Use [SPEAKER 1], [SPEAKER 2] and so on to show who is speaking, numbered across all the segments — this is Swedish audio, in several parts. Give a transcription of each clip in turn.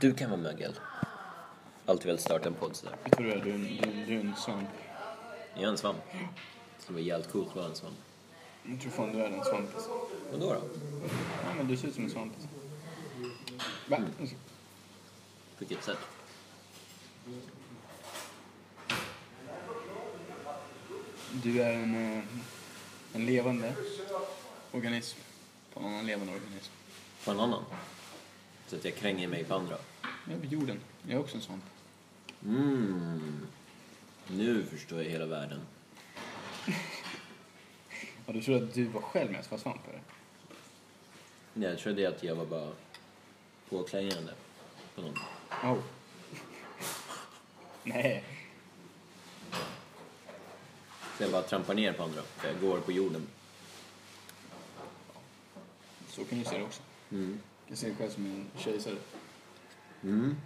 [SPEAKER 1] Du kan vara mögel. Alltid velat starta en podd sådär.
[SPEAKER 2] Vet du vad du är? Du är en, du är en, du är en svamp.
[SPEAKER 1] Jag är en svamp. Det skulle vara jävligt coolt att vara en svamp.
[SPEAKER 2] Jag tror fan du är en svamp. alltså.
[SPEAKER 1] Vadå då?
[SPEAKER 2] Ja, men du ser ut som en svamp. alltså. Va?
[SPEAKER 1] På vilket sätt?
[SPEAKER 2] Du är en, eh, en levande organism. På en annan levande organism.
[SPEAKER 1] På en annan? Så att jag kränger mig på andra?
[SPEAKER 2] Jag är på jorden. Jag är också en svamp.
[SPEAKER 1] Mm. Nu förstår jag hela världen.
[SPEAKER 2] Ja, du trodde att du var själv med som var svamp, eller?
[SPEAKER 1] Nej, Jag trodde att jag var bara påklängande på någon.
[SPEAKER 2] Oh. Nej.
[SPEAKER 1] Så jag bara trampar ner på andra. För jag går på jorden.
[SPEAKER 2] Så kan du se det också.
[SPEAKER 1] Mm.
[SPEAKER 2] Du kan se dig själv som en kejsare.
[SPEAKER 1] Mm.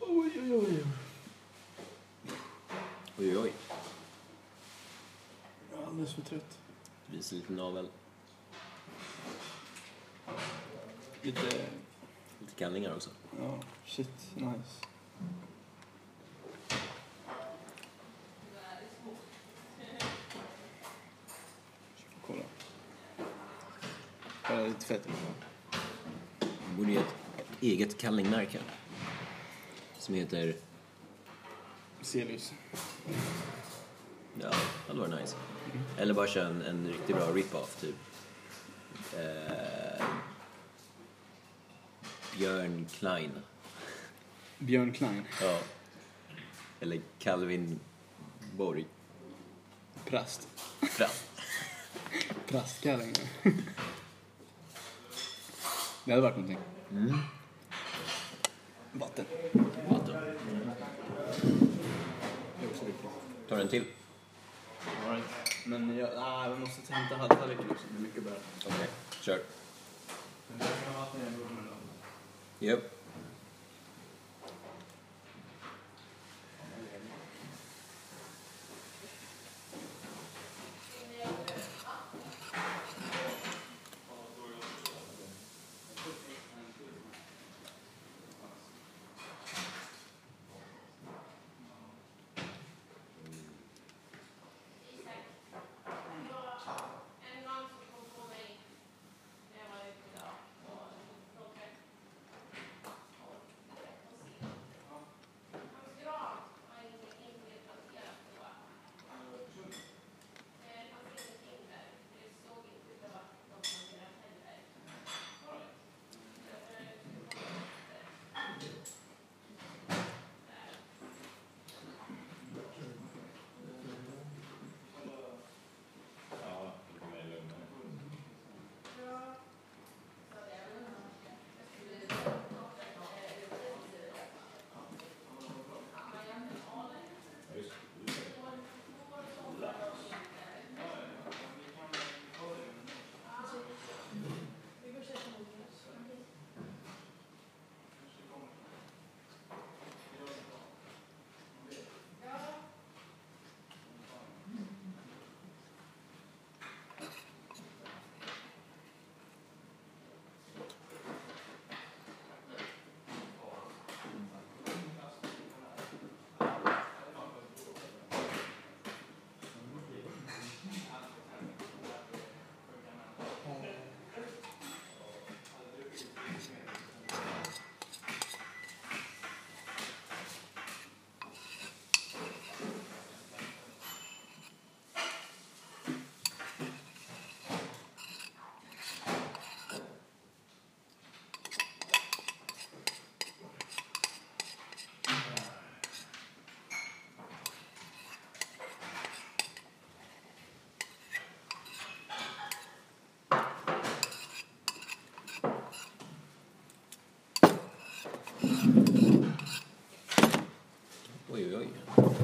[SPEAKER 2] Oj, oj, oj.
[SPEAKER 1] Oj, oj, oj.
[SPEAKER 2] Jag är alldeles för trött.
[SPEAKER 1] Visar lite navel.
[SPEAKER 2] Lite...
[SPEAKER 1] Lite kallingar också.
[SPEAKER 2] Ja, shit. Nice. Kolla. Kolla, lite fett.
[SPEAKER 1] borde ge ett eget kallingmärke. Som heter...
[SPEAKER 2] Celius.
[SPEAKER 1] Ja, det hade varit nice. Eller bara köra en, en riktigt bra rip-off, typ. Eh, Björn Klein.
[SPEAKER 2] Björn Klein.
[SPEAKER 1] Ja. Eller Calvin Borg.
[SPEAKER 2] Präst.
[SPEAKER 1] Fram.
[SPEAKER 2] Prästkalling. Det hade varit någonting. Vatten.
[SPEAKER 1] Vatten.
[SPEAKER 2] Det är också viktigt.
[SPEAKER 1] Tar du en till?
[SPEAKER 2] Alright. Men jag, ah, jag måste hämta halvtallriken också. Det är mycket bättre.
[SPEAKER 1] Okej, kör. Japp. Oj, oj, oj. Vad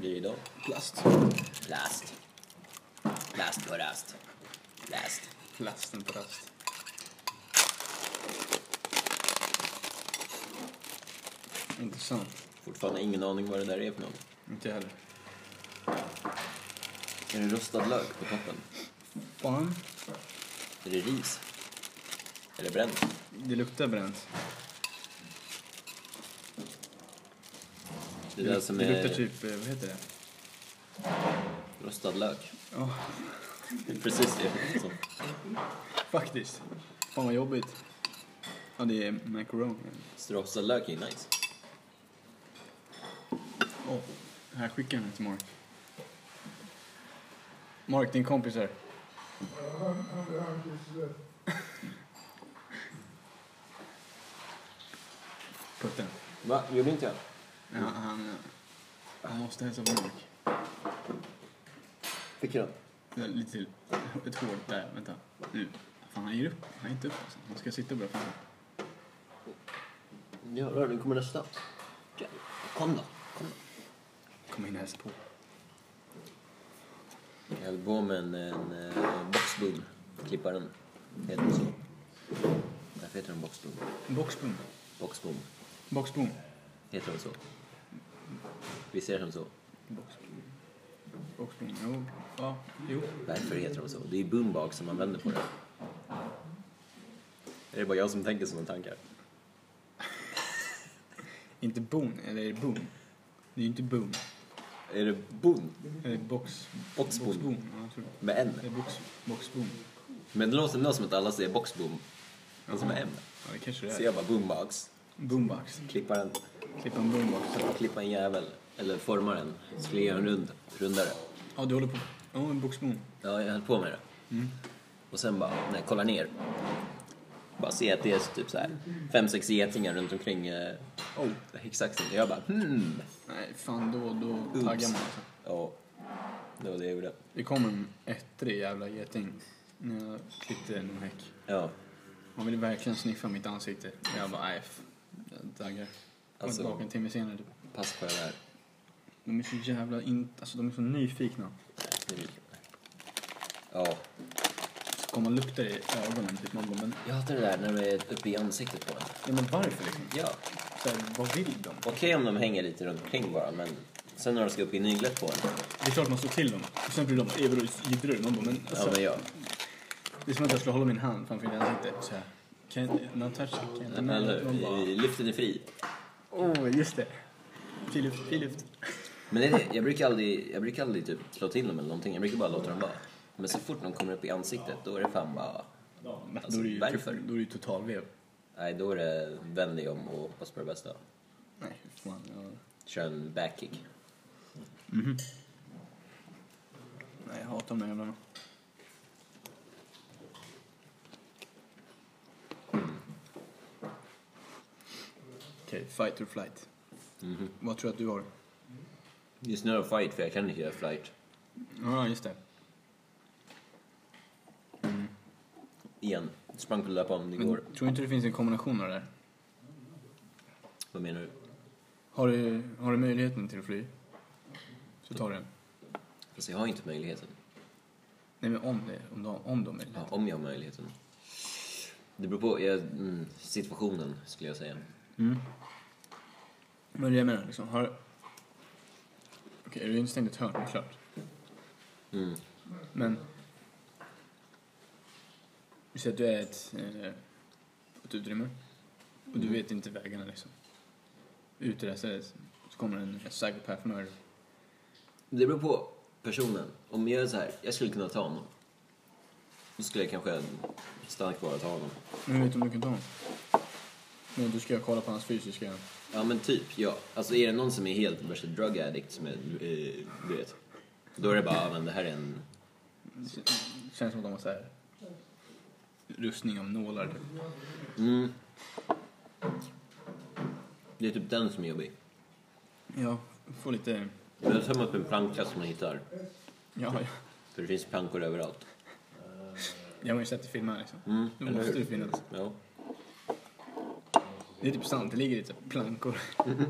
[SPEAKER 1] blir det idag?
[SPEAKER 2] Plast.
[SPEAKER 1] Last. Last på rast. Last.
[SPEAKER 2] Plasten på rast. Intressant.
[SPEAKER 1] Fortfarande ingen aning vad det där är för något.
[SPEAKER 2] Inte jag heller.
[SPEAKER 1] Är det rostad lök på toppen?
[SPEAKER 2] Fan.
[SPEAKER 1] Är det ris? Eller bränt.
[SPEAKER 2] Det luktar bränt.
[SPEAKER 1] Det är det som
[SPEAKER 2] luktar
[SPEAKER 1] är
[SPEAKER 2] typ, eh, vad heter det?
[SPEAKER 1] rostad lök.
[SPEAKER 2] Ja,
[SPEAKER 1] Det är Precis det. som-
[SPEAKER 2] faktiskt. Fan vad jobbigt. Ja, det är macaroni.
[SPEAKER 1] Så rostad lök är ju nice.
[SPEAKER 2] Åh, Här skickar den till Mark. Mark, din kompis här. Putten.
[SPEAKER 1] Va? Gjorde inte jag?
[SPEAKER 2] Ja, han, han måste hälsa på Mark.
[SPEAKER 1] Fick jag den?
[SPEAKER 2] Det är Lite till. Ett hål. Där, vänta. Nu. Fan, han ger upp. Han är inte uppe. Alltså. Han ska sitta bra framför.
[SPEAKER 1] Jävlar, nu kommer nästa. Jävlar. Kom då. Kom
[SPEAKER 2] Kom in häst på.
[SPEAKER 1] då. Jag höll på med en, en eh, boxboom. Klippa den. Heter den så? Därför heter den boxboom.
[SPEAKER 2] Boxboom.
[SPEAKER 1] Boxboom.
[SPEAKER 2] Boxboom.
[SPEAKER 1] Heter den så? Vi ser den så?
[SPEAKER 2] Boxboom. Boxboom. Jo. Ja. Jo.
[SPEAKER 1] Varför heter de så? Det är boombox som man vänder på det. Är det bara jag som tänker sådana tankar?
[SPEAKER 2] Inte boon, eller är det boom? Det är ju inte boom.
[SPEAKER 1] Är det boom?
[SPEAKER 2] Eller Eh, box...
[SPEAKER 1] Boxboom.
[SPEAKER 2] Boxboom. Ja, jag tror det.
[SPEAKER 1] Med N?
[SPEAKER 2] Det är box, boxboom.
[SPEAKER 1] Men det låter ändå som att alla säger boxboom. Men som är M.
[SPEAKER 2] Ja, det kanske
[SPEAKER 1] Så
[SPEAKER 2] det är.
[SPEAKER 1] jag bara boombox.
[SPEAKER 2] Boombox.
[SPEAKER 1] Klippa en,
[SPEAKER 2] Klippa en boombox.
[SPEAKER 1] klippa en jävel. Eller forma den. Skulle göra en rund, rundare.
[SPEAKER 2] Ja, du håller på... Ja, en boxboom.
[SPEAKER 1] Ja, jag höll på med det. Och sen bara, när jag kollar ner. Bara se att det är typ så här fem, sex getingar runt omkring eh,
[SPEAKER 2] Oh.
[SPEAKER 1] häcksaxen. Jag bara hmm.
[SPEAKER 2] Nej, fan då, då
[SPEAKER 1] Oops.
[SPEAKER 2] taggar man alltså.
[SPEAKER 1] Ja, det var det jag gjorde.
[SPEAKER 2] Det kom en ettrig jävla geting när jag klippte någon häck.
[SPEAKER 1] Ja,
[SPEAKER 2] Han ville verkligen sniffa mitt ansikte. Och jag bara, nej, f- jag taggar. Kom
[SPEAKER 1] Alltså-
[SPEAKER 2] tillbaka en timme senare typ.
[SPEAKER 1] pass på det där.
[SPEAKER 2] De är så jävla in... Alltså de är så nyfikna.
[SPEAKER 1] Ja,
[SPEAKER 2] Så kommer man lukta i ögonen typ. Man bara, men,
[SPEAKER 1] jag hatar det där när de är uppe i ansiktet på en.
[SPEAKER 2] ja, men varför liksom?
[SPEAKER 1] Ja,
[SPEAKER 2] Så här, vad vill de?
[SPEAKER 1] okej om de hänger lite runt omkring bara, men sen när de ska upp i nyglet på en.
[SPEAKER 2] Det är klart man står till dem. Och sen blir de bara, "Evro, jiddrar du?" Man bara, men
[SPEAKER 1] Ja,
[SPEAKER 2] alltså,
[SPEAKER 1] men ja.
[SPEAKER 2] Det är som att jag skulle hålla min hand framför ditt ansikte. Så här, can, non touch, can you?
[SPEAKER 1] Eller
[SPEAKER 2] Man bara,
[SPEAKER 1] hur? Luften är fri.
[SPEAKER 2] åh, oh, just det. Filift, filift.
[SPEAKER 1] Men det är det. Jag brukar aldrig, jag brukar aldrig typ slå till dem eller någonting. Jag brukar bara låta dem vara. Men så fort de kommer upp i ansiktet, då är det fan bara...
[SPEAKER 2] då är det ju,
[SPEAKER 1] varför?
[SPEAKER 2] Då är det ju totalvev.
[SPEAKER 1] Nej, då är det vänd dig om och hoppas på det bästa.
[SPEAKER 2] Nej, fy fan. Jag,
[SPEAKER 1] Kör en backkick.
[SPEAKER 2] nej, jag hatar de där jävlarna. Okej, fight or flight.
[SPEAKER 1] Mhm.
[SPEAKER 2] Vad tror du att du har?
[SPEAKER 1] Just nu är det fight, för jag kan inte göra flight.
[SPEAKER 2] Ja, just det.
[SPEAKER 1] Igen. Sprang på löparen
[SPEAKER 2] Men
[SPEAKER 1] igår.
[SPEAKER 2] tror du inte det finns en kombination av det där?
[SPEAKER 1] Vad menar du?
[SPEAKER 2] Har du, har du möjligheten till att fly? Så tar du den.
[SPEAKER 1] Fast jag har inte möjligheten.
[SPEAKER 2] Nej men om det, om de, om de är
[SPEAKER 1] Ja, om jag har möjligheten. Det beror på jag, mm, situationen, skulle jag säga.
[SPEAKER 2] mm. Men det är det jag menar liksom, har... Okej, är du instängd i ett hörn, det är klart.
[SPEAKER 1] Mm.
[SPEAKER 2] Men... Vi säger att du är ett, eh, ett utrymme och du vet inte vägarna liksom. Ut i det här stället så kommer en psychopath murder.
[SPEAKER 1] Det beror på personen. Om jag gör så här, jag skulle kunna ta honom. Då skulle jag kanske stanna kvar och ta honom.
[SPEAKER 2] Men hur vet du om du kan ta honom? Men du ska kolla på hans fysiska...
[SPEAKER 1] Ja men typ, ja. Alltså är det någon som är helt värsta drug addict som är, eh, du vet. Då är det bara, ja, men det här är en...
[SPEAKER 2] Känns som att de har så här rustning av nålar typ.
[SPEAKER 1] Mm. Det är typ den som är jobbig.
[SPEAKER 2] Ja, får lite...
[SPEAKER 1] Jag har tömt en planka som man hittar.
[SPEAKER 2] Ja, ja.
[SPEAKER 1] För det finns plankor överallt.
[SPEAKER 2] Jag har ju sett i filmer liksom.
[SPEAKER 1] Mm,
[SPEAKER 2] Då
[SPEAKER 1] eller
[SPEAKER 2] måste
[SPEAKER 1] hur?
[SPEAKER 2] det finnas.
[SPEAKER 1] Ja.
[SPEAKER 2] Det är typ sant, det ligger lite plankor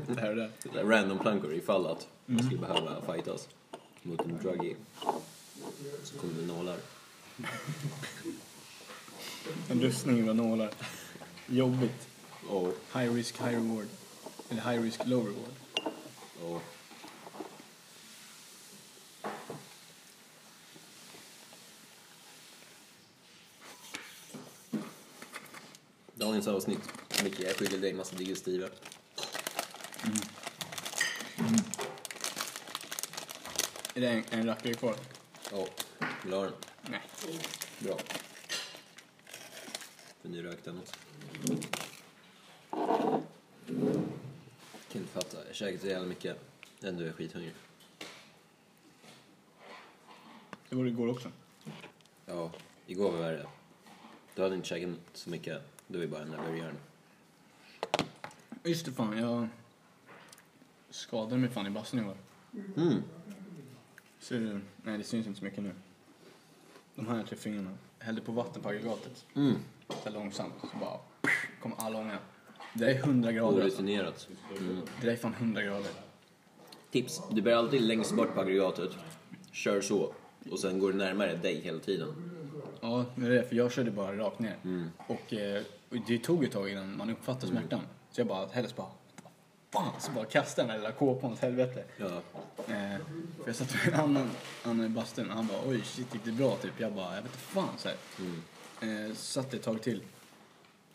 [SPEAKER 2] lite här och där.
[SPEAKER 1] Sådär Random plankor ifall att man skulle
[SPEAKER 2] Mm.
[SPEAKER 1] behöva fightas mot en druggie. Så kommer det nålar.
[SPEAKER 2] En rustning av nålar. Jobbigt.
[SPEAKER 1] Och,
[SPEAKER 2] High risk, high reward. Eller high risk, low reward.
[SPEAKER 1] och Dagens avsnitt, Micke, jag skyller dig massa digestiva.
[SPEAKER 2] Är det en, en rackare kvar?
[SPEAKER 1] Ja, vill du ha den?
[SPEAKER 2] Nej.
[SPEAKER 1] Bra. För nyrökt än också. Kan inte fatta. Jag har käkat så jävla mycket. Ändå är jag skithungrig.
[SPEAKER 2] Det var det igår också.
[SPEAKER 1] Ja, igår var det värre. Då hade jag inte käkat så mycket. Då är det bara den där burgaren.
[SPEAKER 2] Just det fan, jag skadade mig fan i bassen igår.
[SPEAKER 1] Mm.
[SPEAKER 2] Ser du? Nej, det syns inte så mycket nu. De här tre fingrarna. Jag hällde på vatten på aggregatet.
[SPEAKER 1] Mm.
[SPEAKER 2] Så här långsamt. Så bara kom all ånga. Det där är 100 grader. alltså.
[SPEAKER 1] Orutinerat. Mm.
[SPEAKER 2] Det där är fan 100 grader.
[SPEAKER 1] Tips. Du bär alltid längst bort på aggregatet. Kör så. Och sen går du närmare dig hela tiden.
[SPEAKER 2] Ja, det är det. För jag körde bara rakt ner.
[SPEAKER 1] Mm.
[SPEAKER 2] Och, eh, och det tog ett tag innan man uppfattade smärtan. Så jag bara, helst bara, fan! Så bara kastade den där lilla kåpan åt helvete.
[SPEAKER 1] Ja.
[SPEAKER 2] Eh, för jag satt med en annan, annan i bastun och han bara, oj shit gick det bra? Typ. Jag bara, jag vet inte fan. Så här.
[SPEAKER 1] Mm.
[SPEAKER 2] Eh, satt ett tag till.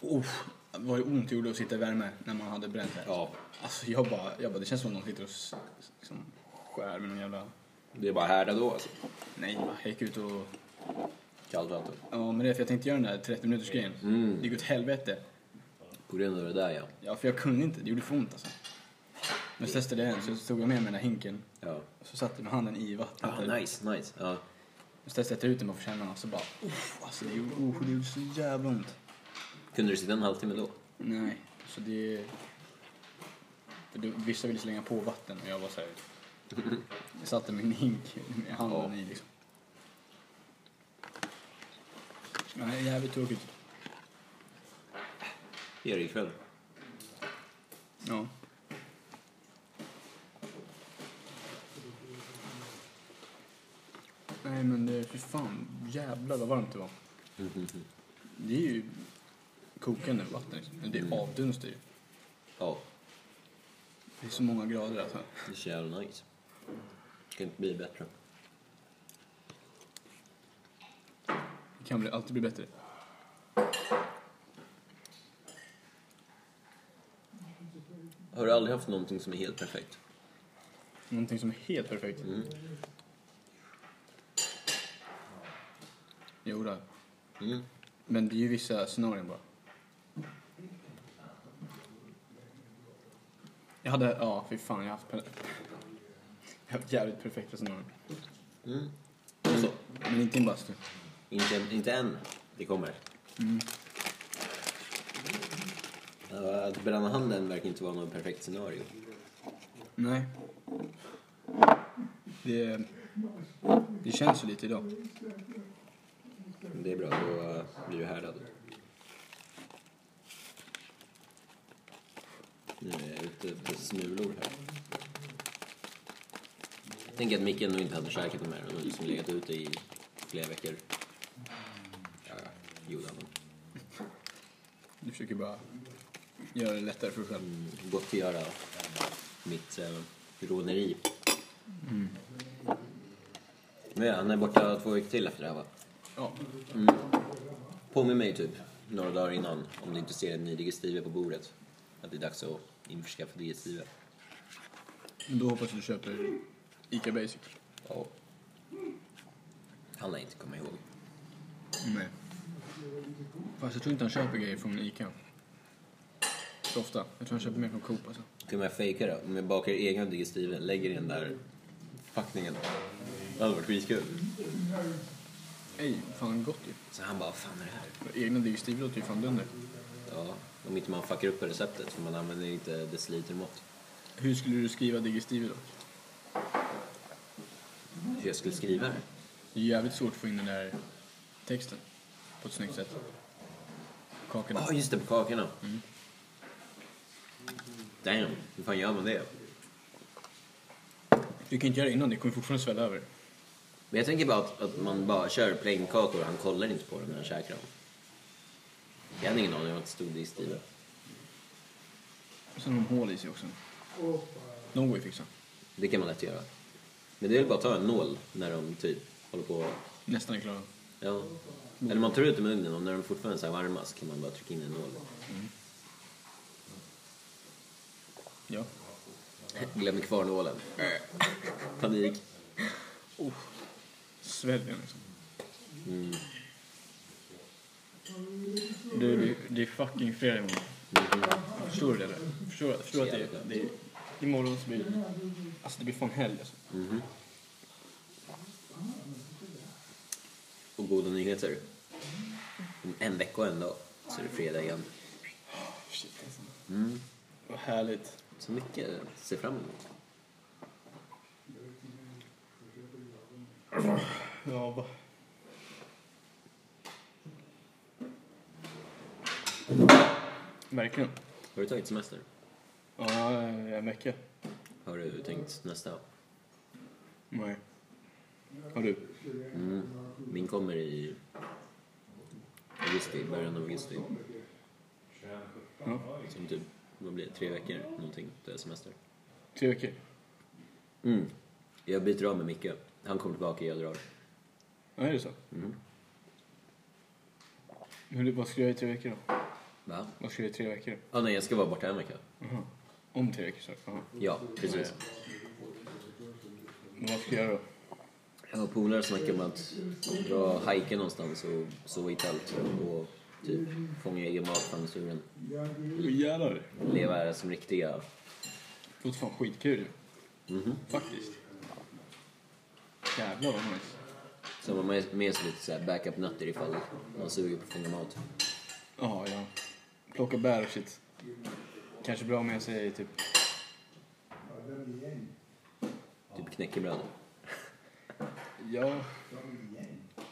[SPEAKER 2] Oh, vad det ont gjorde att sitta i värme när man hade bränt här.
[SPEAKER 1] ja.
[SPEAKER 2] Alltså jag bara, jag bara, det känns som att någon sitter och s- s- liksom, skär med någon jävla...
[SPEAKER 1] Det är bara härda då alltså.
[SPEAKER 2] Nej, va, jag gick ut och...
[SPEAKER 1] Kallt vatten.
[SPEAKER 2] Ja, men det är för jag tänkte göra den där 30 minuters grejen.
[SPEAKER 1] Mm.
[SPEAKER 2] Det gick åt helvete.
[SPEAKER 1] På grund av det där ja.
[SPEAKER 2] Ja, för jag kunde inte. Det gjorde för ont alltså. Men så testade jag en, så tog jag med mig den där hinken.
[SPEAKER 1] Ja.
[SPEAKER 2] och Så satte jag med handen i vattnet.
[SPEAKER 1] Ah, nice, nice. Ja.
[SPEAKER 2] Och Så testade jag att ta ut den bara för att känna och så bara... Uff, alltså det gjorde, oh, det gjorde så jävla ont.
[SPEAKER 1] Kunde du sitta en halvtimme då?
[SPEAKER 2] Nej, så det... För då, vissa ville slänga på vatten och jag var såhär... Jag satte min hink med handen
[SPEAKER 1] Ja.
[SPEAKER 2] i liksom. Men det är jävligt tråkigt.
[SPEAKER 1] Det gör det ikväll.
[SPEAKER 2] Ja. Nej men det, fy fan, jävlar vad varmt det var. Det är ju kokande vatten liksom. Det
[SPEAKER 1] Mm.
[SPEAKER 2] avdunstar ju.
[SPEAKER 1] Ja,
[SPEAKER 2] Det är så många grader alltså.
[SPEAKER 1] det är så jävla nice. Kan inte bli bättre.
[SPEAKER 2] Det kan bli, alltid bli bättre.
[SPEAKER 1] Har du aldrig haft någonting som är helt perfekt?
[SPEAKER 2] Någonting som är helt perfekt.
[SPEAKER 1] Mm.
[SPEAKER 2] Jo, då.
[SPEAKER 1] Mm.
[SPEAKER 2] Men det är ju vissa scenarion bara. Jag hade, ja fy fan jag har haft, per- jag har haft jävligt perfekta scenarion.
[SPEAKER 1] Mm.
[SPEAKER 2] Men, men inte i en bastu.
[SPEAKER 1] Inte, inte än. Det kommer. Mm. Ja, Att bränna handen verkar inte vara något perfekt scenario.
[SPEAKER 2] Nej. Det, det känns ju lite idag.
[SPEAKER 1] Men Det är bra, då eh, blir du härdad. Nu är jag ute på smulor här. Jag tänker att Micke nog inte hade käkat de här. Han har liksom legat ute i flera veckor. Ja, ja. jo, det hade han.
[SPEAKER 2] Du försöker bara göra det lättare för dig själv.
[SPEAKER 1] Mm, gottgöra mitt eh, råneri. Men ja, han är borta två veckor till efter det här va?
[SPEAKER 2] Ja.
[SPEAKER 1] Påminn mig typ några dagar innan om du inte ser en ny digestive på bordet. Att det är dags att införskaffa digestive.
[SPEAKER 2] Men då hoppas jag du köper ICA Basic.
[SPEAKER 1] Ja. Han lär inte komma ihåg.
[SPEAKER 2] Nej. Fast jag tror inte han köper grejer från ICA. Så ofta. Jag tror han köper mer från Coop alltså.
[SPEAKER 1] Kan man fejka det? Om jag bakar egna digestive, lägger i den där packningen. Det hade varit skitkul.
[SPEAKER 2] Ej, fan gott ju.
[SPEAKER 1] Så han bara, vad fan är det här?
[SPEAKER 2] Egna digestiv låter ju fan dunder.
[SPEAKER 1] Ja, om inte man fuckar upp på receptet för man använder inte decilitermått.
[SPEAKER 2] Hur skulle du skriva digestiv då?
[SPEAKER 1] Hur jag skulle skriva det?
[SPEAKER 2] Det är jävligt svårt att få in den där texten på ett snyggt sätt. Kakorna.
[SPEAKER 1] Ja, just det, på kakorna. Damn, hur fan gör man det?
[SPEAKER 2] Du kan inte göra det innan, det kommer fortfarande svälla över.
[SPEAKER 1] Men jag tänker bara att, att man bara kör plainkakor och han kollar inte på dem när han käkar dem. Jag hade ingen aning om att det stod i stilen.
[SPEAKER 2] Och sen har de hål i sig också. De går ju att fixa.
[SPEAKER 1] Det kan man lätt göra. Men det är väl bara att ta en nål när de typ håller på
[SPEAKER 2] Nästan är klara.
[SPEAKER 1] Ja. Eller man tar ut dem ur ugnen och när de fortfarande är så här varma så kan man bara trycka in en nål.
[SPEAKER 2] Ja.
[SPEAKER 1] Glömmer kvar nålen. Panik.
[SPEAKER 2] Sväljer liksom. Du, det, det är fucking fredag imorgon. Förstår du det eller? Förstår, du- förstår du att det, det, det imorgon så blir det... Alltså det blir fan helg alltså.
[SPEAKER 1] Och goda nyheter. Om en vecka och en dag så är det fredag igen.
[SPEAKER 2] Shit alltså. Vad härligt.
[SPEAKER 1] Så mycket att se fram emot.
[SPEAKER 2] Ja, va. Verkligen.
[SPEAKER 1] Har du tagit semester?
[SPEAKER 2] Ja, en vecka.
[SPEAKER 1] Har du tänkt nästa?
[SPEAKER 2] Nej. Har du?
[SPEAKER 1] Mm. Min kommer i augusti, början av augusti.
[SPEAKER 2] Ja.
[SPEAKER 1] Som typ, vad blir det, tre veckor någonting, det är semester.
[SPEAKER 2] Tre veckor?
[SPEAKER 1] Mm. Jag byter av med Micke. Han kommer tillbaka, jag drar.
[SPEAKER 2] Ja, är det så?
[SPEAKER 1] Mm.
[SPEAKER 2] Men du, vad ska du göra i tre veckor då?
[SPEAKER 1] Va?
[SPEAKER 2] Vad ska du göra i tre veckor?
[SPEAKER 1] Ah, nej, jag ska vara borta en vecka.
[SPEAKER 2] Aha. Om tre veckor så? Aha.
[SPEAKER 1] Ja, precis.
[SPEAKER 2] Men vad ska jag göra då?
[SPEAKER 1] Jag har polare som snackar om att dra och hajka någonstans och sova i tält och typ fånga egen mat från naturen.
[SPEAKER 2] Åh jävlar.
[SPEAKER 1] Leva som riktiga...
[SPEAKER 2] Det låter fan skitkul ju.
[SPEAKER 1] Mhm.
[SPEAKER 2] Faktiskt. Jävlar vad nice.
[SPEAKER 1] Så man har med sig lite så här backup-nötter ifall man suger på att fånga mat.
[SPEAKER 2] Ja, ja. Plocka bär och shit. Kanske bra med sig typ...
[SPEAKER 1] Typ knäckebröd.
[SPEAKER 2] Ja.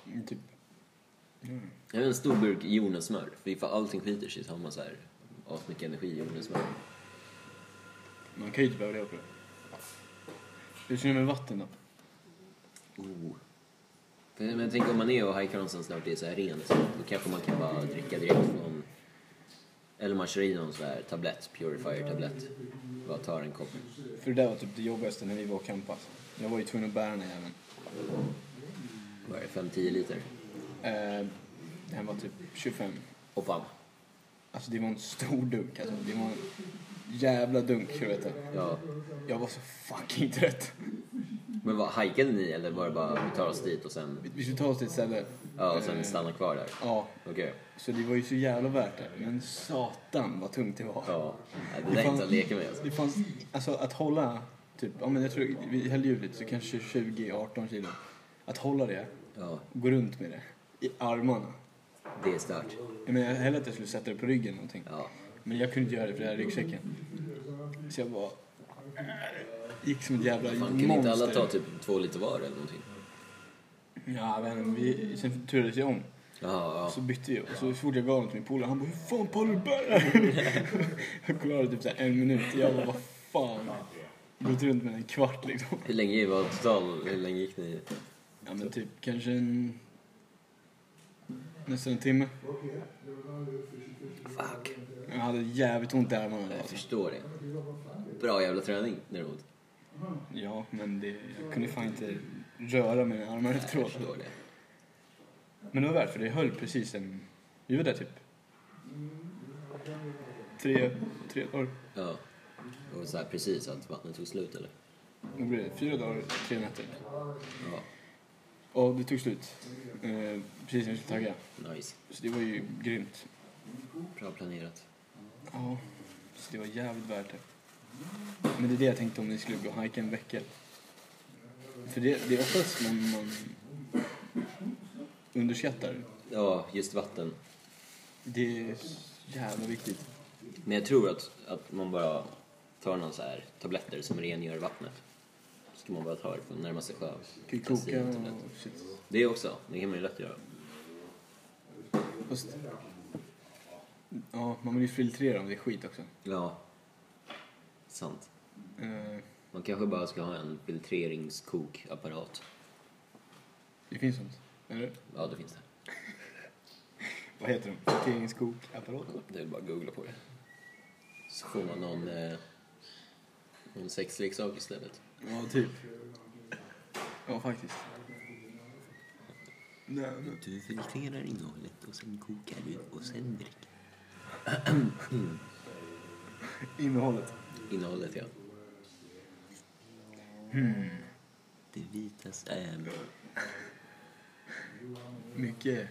[SPEAKER 2] Mm, Typ... Mm.
[SPEAKER 1] Jag har en stor burk jordnötssmör. För ifall allting skiter sig så har man så här asmycket energi i jordnötssmör.
[SPEAKER 2] Man kan ju inte behöva leva på det. Hur ser det med vatten då?
[SPEAKER 1] Oh. För- Men tänk om man är och hajkar någonstans där det är så här rent. Då kanske man kan bara dricka direkt från... Eller man kör i någon så här tablett, purifier-tablett. Bara tar en kopp.
[SPEAKER 2] För det där var typ det jobbigaste när vi var och campade. alltså. Jag var ju tvungen att bära den här jäveln.
[SPEAKER 1] Vad är det, 5-10 liter?
[SPEAKER 2] Eh, den var typ 25.
[SPEAKER 1] Och fan.
[SPEAKER 2] Alltså det var en stor dunk alltså. Det var en jävla dunk, jag vet det.
[SPEAKER 1] Ja.
[SPEAKER 2] Jag var så fucking trött.
[SPEAKER 1] Men vad, hajkade ni eller var det bara vi tar oss dit och sen...
[SPEAKER 2] Vi- Vi skulle ta oss till ett ställe.
[SPEAKER 1] Ja, och
[SPEAKER 2] Eh,
[SPEAKER 1] sen stanna kvar där?
[SPEAKER 2] Ja,
[SPEAKER 1] Okej.
[SPEAKER 2] så det var ju så jävla värt det. Men satan vad tungt det var.
[SPEAKER 1] Ja. Nej, Det där är inte att leka med alltså.
[SPEAKER 2] Det fanns, alltså att hålla, typ, ja men jag tror, vi hällde ju ut lite så kanske 20-18 kilo. Att hålla det,
[SPEAKER 1] Ja,
[SPEAKER 2] och gå runt med det, i armarna.
[SPEAKER 1] det är stört.
[SPEAKER 2] Jag menar, jag hellre att jag skulle sätta det på ryggen eller någonting.
[SPEAKER 1] Ja.
[SPEAKER 2] Men jag kunde inte göra det för det här ryggsäcken. Så jag bara... Gick som ett jävla
[SPEAKER 1] Fan, kan inte alla ta typ två liter var eller någonting?
[SPEAKER 2] Ja, men vi, sen turades jag om.
[SPEAKER 1] Ja,
[SPEAKER 2] Så bytte vi och så fort jag gav den till min polare, han bara hur fan pallar du bära den?" Jag klarade typ såhär en minut. Jag bara vad fan. Gått runt med den en kvart liksom.
[SPEAKER 1] Hur länge var total, hur länge gick ni?
[SPEAKER 2] Ja men typ kanske en... Nästan en timme.
[SPEAKER 1] Fuck.
[SPEAKER 2] Jag hade jävligt ont i armarna.
[SPEAKER 1] Jag
[SPEAKER 2] Alltså.
[SPEAKER 1] förstår det. Bra jävla träning däremot.
[SPEAKER 2] Ja men det, jag kunde fan inte röra mina armar
[SPEAKER 1] Jag
[SPEAKER 2] efteråt.
[SPEAKER 1] förstår det.
[SPEAKER 2] Men det var värt för det höll precis en... Vi var där typ... Tre, tre dagar.
[SPEAKER 1] Ja. Och så här precis att vattnet tog slut eller?
[SPEAKER 2] Vad blir det? Fyra dagar, tre nätter.
[SPEAKER 1] Ja.
[SPEAKER 2] Ja, det tog slut. Eh, precis när vi skulle tagga.
[SPEAKER 1] Nice.
[SPEAKER 2] Så det var ju grymt.
[SPEAKER 1] Bra planerat.
[SPEAKER 2] Ja. Så det var jävligt värt det. Men det är det jag tänkte om ni skulle gå och hajka en vecka. För det, det är oftast man, man underskattar.
[SPEAKER 1] Ja, just vatten.
[SPEAKER 2] Det är så jävla viktigt.
[SPEAKER 1] Men jag tror att, att man bara tar någon så här tabletter som rengör vattnet. Ska man bara ta det från närmaste sjö.
[SPEAKER 2] Kan ju
[SPEAKER 1] Testa
[SPEAKER 2] koka
[SPEAKER 1] internet.
[SPEAKER 2] och shit.
[SPEAKER 1] Det också. Det kan man ju lätt göra.
[SPEAKER 2] Fast, ja, man vill ju filtrera om det är skit också.
[SPEAKER 1] Ja. Sant.
[SPEAKER 2] Eh,
[SPEAKER 1] Man kanske bara ska ha en filtreringskokapparat.
[SPEAKER 2] det finns sånt. Eller?
[SPEAKER 1] Ja, det finns det.
[SPEAKER 2] Vad heter de? Filtreringskokapparat?
[SPEAKER 1] Det är bara att googla på det. Så får man någon, eh, någon sexleksak istället.
[SPEAKER 2] Ja, typ. Ja, faktiskt. Nej, men-
[SPEAKER 1] Du filtrerar innehållet och sen kokar du och sen dricker.
[SPEAKER 2] Innehållet.
[SPEAKER 1] Innehållet, ja. Det vitas... Äh,
[SPEAKER 2] Mycket...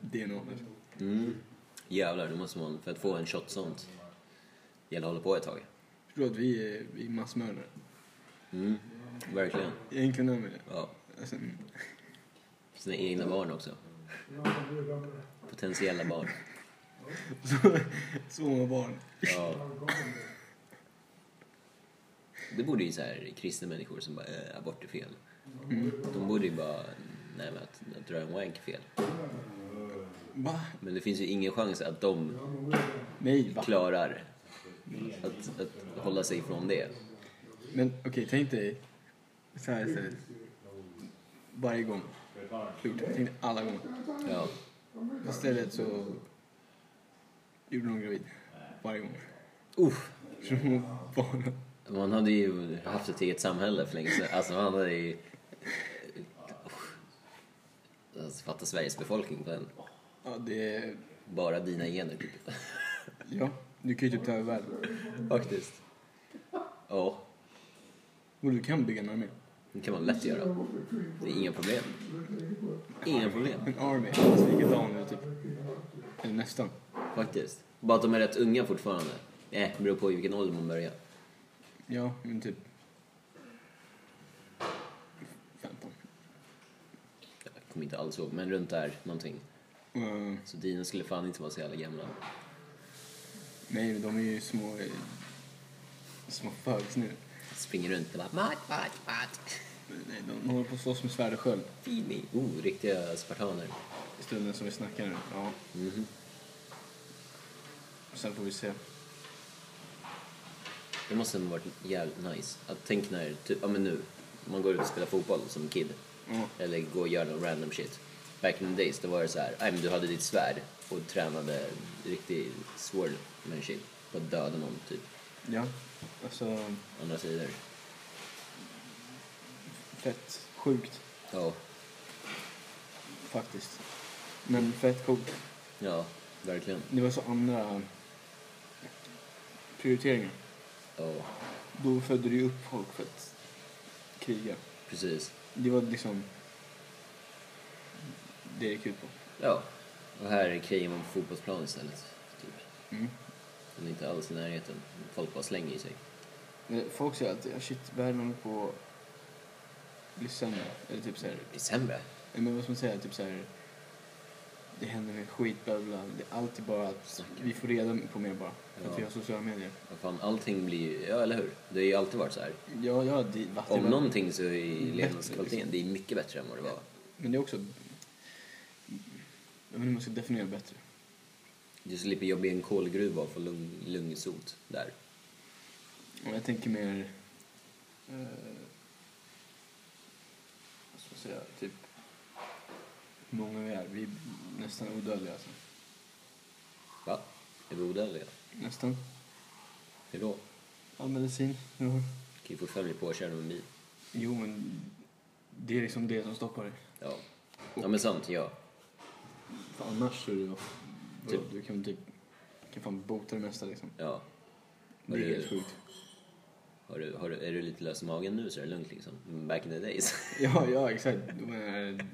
[SPEAKER 2] DNA.
[SPEAKER 1] mm. Jävlar, det måste man... För att få en shot sånt gäller att hålla på ett tag.
[SPEAKER 2] Förstår att vi är, vi är massmördare.
[SPEAKER 1] Mm. Verkligen.
[SPEAKER 2] Egentligen är vi det.
[SPEAKER 1] Ja.
[SPEAKER 2] Alltså, mm.
[SPEAKER 1] Sina egna barn också. Potentiella barn.
[SPEAKER 2] så, så många barn.
[SPEAKER 1] Ja. Det borde ju så här kristna människor som bara äh, abort är fel. De borde ju bara, nej men att, att dra en wank är fel.
[SPEAKER 2] Va?
[SPEAKER 1] Men det finns ju ingen chans att de
[SPEAKER 2] Nej, va?
[SPEAKER 1] klarar att, att hålla sig från det.
[SPEAKER 2] Men okej, tänk dig så här istället. Varje gång. Gjort. Tänk dig alla gånger.
[SPEAKER 1] Ja.
[SPEAKER 2] Istället så gjorde någon gravid. Varje gång.
[SPEAKER 1] Uff.
[SPEAKER 2] Så hon barnen.
[SPEAKER 1] Man hade ju haft ett eget samhälle för länge sedan. Alltså man hade ju... Alltså, fatta Sveriges befolkning på en.
[SPEAKER 2] Ja, det är...
[SPEAKER 1] Bara dina gener typ.
[SPEAKER 2] Ja, du kan ju typ ta över världen.
[SPEAKER 1] Faktiskt. Ja.
[SPEAKER 2] Och du kan bygga en armé.
[SPEAKER 1] Det kan man lätt göra. Det är inga problem. Inga problem,
[SPEAKER 2] En armé. Alltså likadan nu typ. Eller nästan.
[SPEAKER 1] faktiskt. Bara att de är rätt unga fortfarande. Nej, det beror på i vilken ålder man börjar.
[SPEAKER 2] Ja, men typ... 15.
[SPEAKER 1] Jag kommer inte alls ihåg, men runt där någonting.
[SPEAKER 2] Eh,
[SPEAKER 1] Så dina skulle fan inte vara så jävla gamla.
[SPEAKER 2] nej, men de är ju små... eh, Små fugs nu.
[SPEAKER 1] Springer runt och bara mat, mat, mat.
[SPEAKER 2] Nej, de håller på att slåss med svärd och sköld.
[SPEAKER 1] Feed me. Oh, riktiga spartaner.
[SPEAKER 2] I stunden som vi snackar nu. Ja.
[SPEAKER 1] Mhm.
[SPEAKER 2] Sen får vi se.
[SPEAKER 1] Det måste ha varit jävligt nice. Att tänk när, typ, ja men nu, man går ut och spelar fotboll som kid.
[SPEAKER 2] Ja.
[SPEAKER 1] Eller går och gör någon random shit. Back in the days, då var det så här, nej men du hade ditt svärd och tränade riktig sword med en shit. På att döda någon, typ.
[SPEAKER 2] ja. Alltså,
[SPEAKER 1] Andra sidor.
[SPEAKER 2] fett sjukt
[SPEAKER 1] Ja,
[SPEAKER 2] faktiskt. Men fett coolt.
[SPEAKER 1] ja, verkligen.
[SPEAKER 2] Det var så andra prioriteringar.
[SPEAKER 1] Ja,
[SPEAKER 2] Då födde du ju upp folk för att kriga.
[SPEAKER 1] precis.
[SPEAKER 2] Det var liksom det det gick ut på.
[SPEAKER 1] Ja, och här krigar man på fotbollsplan istället. Typ.
[SPEAKER 2] Mm.
[SPEAKER 1] Men inte alls i närheten. Folk bara slänger i sig.
[SPEAKER 2] Men Eh, Folk säger alltid "Ja, shit, världen håller på att bli sämre. Eller typ så här,
[SPEAKER 1] Det är sämre.
[SPEAKER 2] Nej, men vad ska man säga, typ så här. Det händer mer skit, bla bla. bla. Det är alltid bara att
[SPEAKER 1] Snacka.
[SPEAKER 2] vi får reda på mer bara. För
[SPEAKER 1] Ja.
[SPEAKER 2] att vi har sociala medier.
[SPEAKER 1] Vad fan, allting blir ju, ja eller hur? Det har ju alltid varit så här.
[SPEAKER 2] Ja, ja, det, va, det
[SPEAKER 1] Om
[SPEAKER 2] var-
[SPEAKER 1] någonting så är
[SPEAKER 2] Bättre,
[SPEAKER 1] levnadskvaliteten,
[SPEAKER 2] liksom.
[SPEAKER 1] det är mycket bättre än vad det var.
[SPEAKER 2] Men det är också... Jag vet inte hur man ska definiera bättre.
[SPEAKER 1] Du slipper jobba i en kolgruva och få lung, lungsot där.
[SPEAKER 2] Och jag tänker mer... Eh, vad ska jag säga? Typ... Hur många vi är. Vi är nästan odödliga alltså.
[SPEAKER 1] Va? Är vi odödliga?
[SPEAKER 2] Nästan.
[SPEAKER 1] Hur då?
[SPEAKER 2] All medicin. Ja.
[SPEAKER 1] Kan ju fortfarande bli påkörd av en bil.
[SPEAKER 2] Jo, men... Det är liksom det som stoppar dig.
[SPEAKER 1] Ja. Ja men sant, ja.
[SPEAKER 2] För Annars så är det ju...
[SPEAKER 1] Typ.
[SPEAKER 2] Du kan typ... kan fan bota det mesta liksom.
[SPEAKER 1] Ja.
[SPEAKER 2] Det
[SPEAKER 1] Har
[SPEAKER 2] är
[SPEAKER 1] du-
[SPEAKER 2] helt sjukt.
[SPEAKER 1] Har du, har du, är du lite lös i magen nu så är det lugnt liksom. Men Back in the days.
[SPEAKER 2] Ja, ja exakt. Då, är,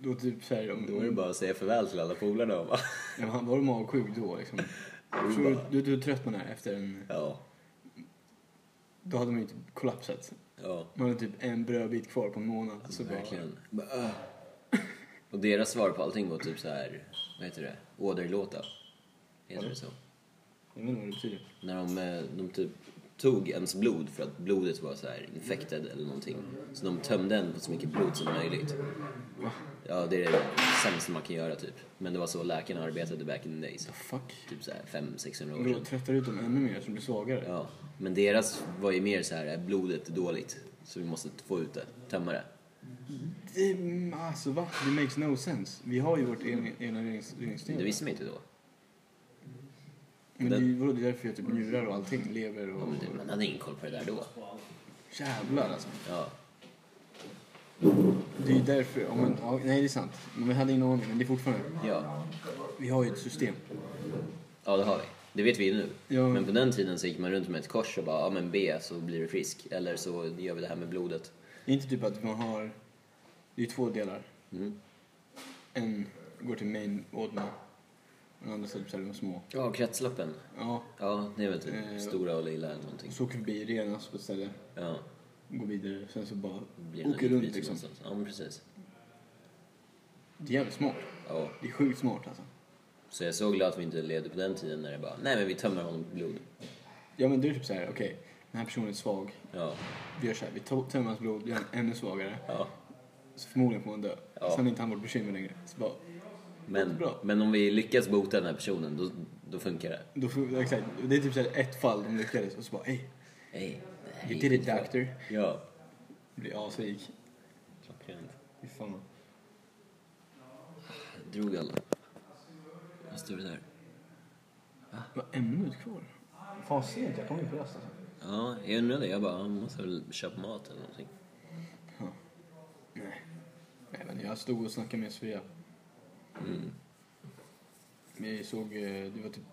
[SPEAKER 2] då typ såhär...
[SPEAKER 1] Då är det bara att säga farväl till alla polarna och bara...
[SPEAKER 2] Ja, han var magsjuk då liksom.
[SPEAKER 1] är
[SPEAKER 2] Tror du,
[SPEAKER 1] bara-
[SPEAKER 2] du, du hur trött man är efter en...
[SPEAKER 1] Ja.
[SPEAKER 2] Då hade man ju typ kollapsat.
[SPEAKER 1] Ja.
[SPEAKER 2] Man hade typ en brödbit kvar på en månad. Så bara,
[SPEAKER 1] Alltså, Verkligen. Bara, "Åh." Och deras svar på allting var typ så här, vad heter det? Åderlåta. Heter det så?
[SPEAKER 2] Jag vet inte vad det betyder.
[SPEAKER 1] När de, eh, de typ tog ens blod för att blodet var så här infected eller någonting. Så de tömde en på så mycket blod som möjligt.
[SPEAKER 2] Va?
[SPEAKER 1] Ja, det är det sämsta man kan göra typ. Men det var så läkarna arbetade back in the days.
[SPEAKER 2] The fuck?
[SPEAKER 1] Typ så här 500-600 år
[SPEAKER 2] Och då
[SPEAKER 1] sedan.
[SPEAKER 2] tröttar du ut dem ännu mer så de blir svagare.
[SPEAKER 1] Ja, men deras var ju mer så här, "Är blodet dåligt. Så vi måste få ut det, tömma det.
[SPEAKER 2] Det, alltså va? Det makes no sense. Vi har ju vårt en- ena regerings-
[SPEAKER 1] Det
[SPEAKER 2] regeringsstyre.
[SPEAKER 1] visste man inte då.
[SPEAKER 2] Men det, är ju- vadå, det är därför vi har typ njurar och allting. Lever
[SPEAKER 1] Ja, typ,
[SPEAKER 2] och...
[SPEAKER 1] men det- Man hade ingen koll på det där då.
[SPEAKER 2] Jävlar alltså.
[SPEAKER 1] Ja.
[SPEAKER 2] Det är ju därför, ja, men, ja, nej det är sant. Men vi hade ingen aning, men det är fortfarande,
[SPEAKER 1] Ja.
[SPEAKER 2] vi har ju ett system.
[SPEAKER 1] ja, det har vi. Det vet vi ju nu.
[SPEAKER 2] Ja.
[SPEAKER 1] Men på den tiden så gick man runt med ett kors och bara, ja men be så blir du frisk. Eller så gör vi det här med blodet.
[SPEAKER 2] Det är inte typ att man har, det är ju två delar.
[SPEAKER 1] Mm.
[SPEAKER 2] En går till main ordna, den andra står till de små.
[SPEAKER 1] Ja, kretsloppen.
[SPEAKER 2] Ja,
[SPEAKER 1] Ja, det är väl typ
[SPEAKER 2] Eh,
[SPEAKER 1] stora och lilla eller någonting.
[SPEAKER 2] så åker vi förbi, renas på ett ställe,
[SPEAKER 1] Ja,
[SPEAKER 2] går vidare, sen så bara
[SPEAKER 1] det blir
[SPEAKER 2] åker
[SPEAKER 1] en
[SPEAKER 2] runt
[SPEAKER 1] utbyte
[SPEAKER 2] liksom.
[SPEAKER 1] någonstans. Ja, men precis.
[SPEAKER 2] Det är jävligt smart.
[SPEAKER 1] Ja.
[SPEAKER 2] Det är sjukt smart alltså.
[SPEAKER 1] Så jag är så glad att vi inte levde på den tiden när det bara, nej men vi tömmer honom på blod.
[SPEAKER 2] Ja men du är typ såhär, okej, den här personen är svag.
[SPEAKER 1] Ja,
[SPEAKER 2] Vi gör såhär, vi to- tömmer hans blod, gör honom ännu svagare.
[SPEAKER 1] ja.
[SPEAKER 2] Så förmodligen får han dö.
[SPEAKER 1] Ja.
[SPEAKER 2] Sen är inte han vårt bekymmer längre. Så bara,
[SPEAKER 1] Men,
[SPEAKER 2] Bra.
[SPEAKER 1] men om vi lyckas bota den här personen, då, då funkar det.
[SPEAKER 2] då får, exakt, det är typ såhär ett fall de lyckades och så bara, ey,
[SPEAKER 1] Hey,
[SPEAKER 2] you did it doctor.
[SPEAKER 1] Ja.
[SPEAKER 2] Blir asrik.
[SPEAKER 1] Klockrent.
[SPEAKER 2] Fy fan.
[SPEAKER 1] Drog alla. Vad står det där?
[SPEAKER 2] Vad en minut kvar? Fan sent, jag kom in på rast alltså.
[SPEAKER 1] Ja, jag undrade. Jag bara, han måste väl köpa mat eller någonting.
[SPEAKER 2] Nej. Nej men jag stod och snackade med Svea.
[SPEAKER 1] Mm.
[SPEAKER 2] Vi såg, eh, det var typ,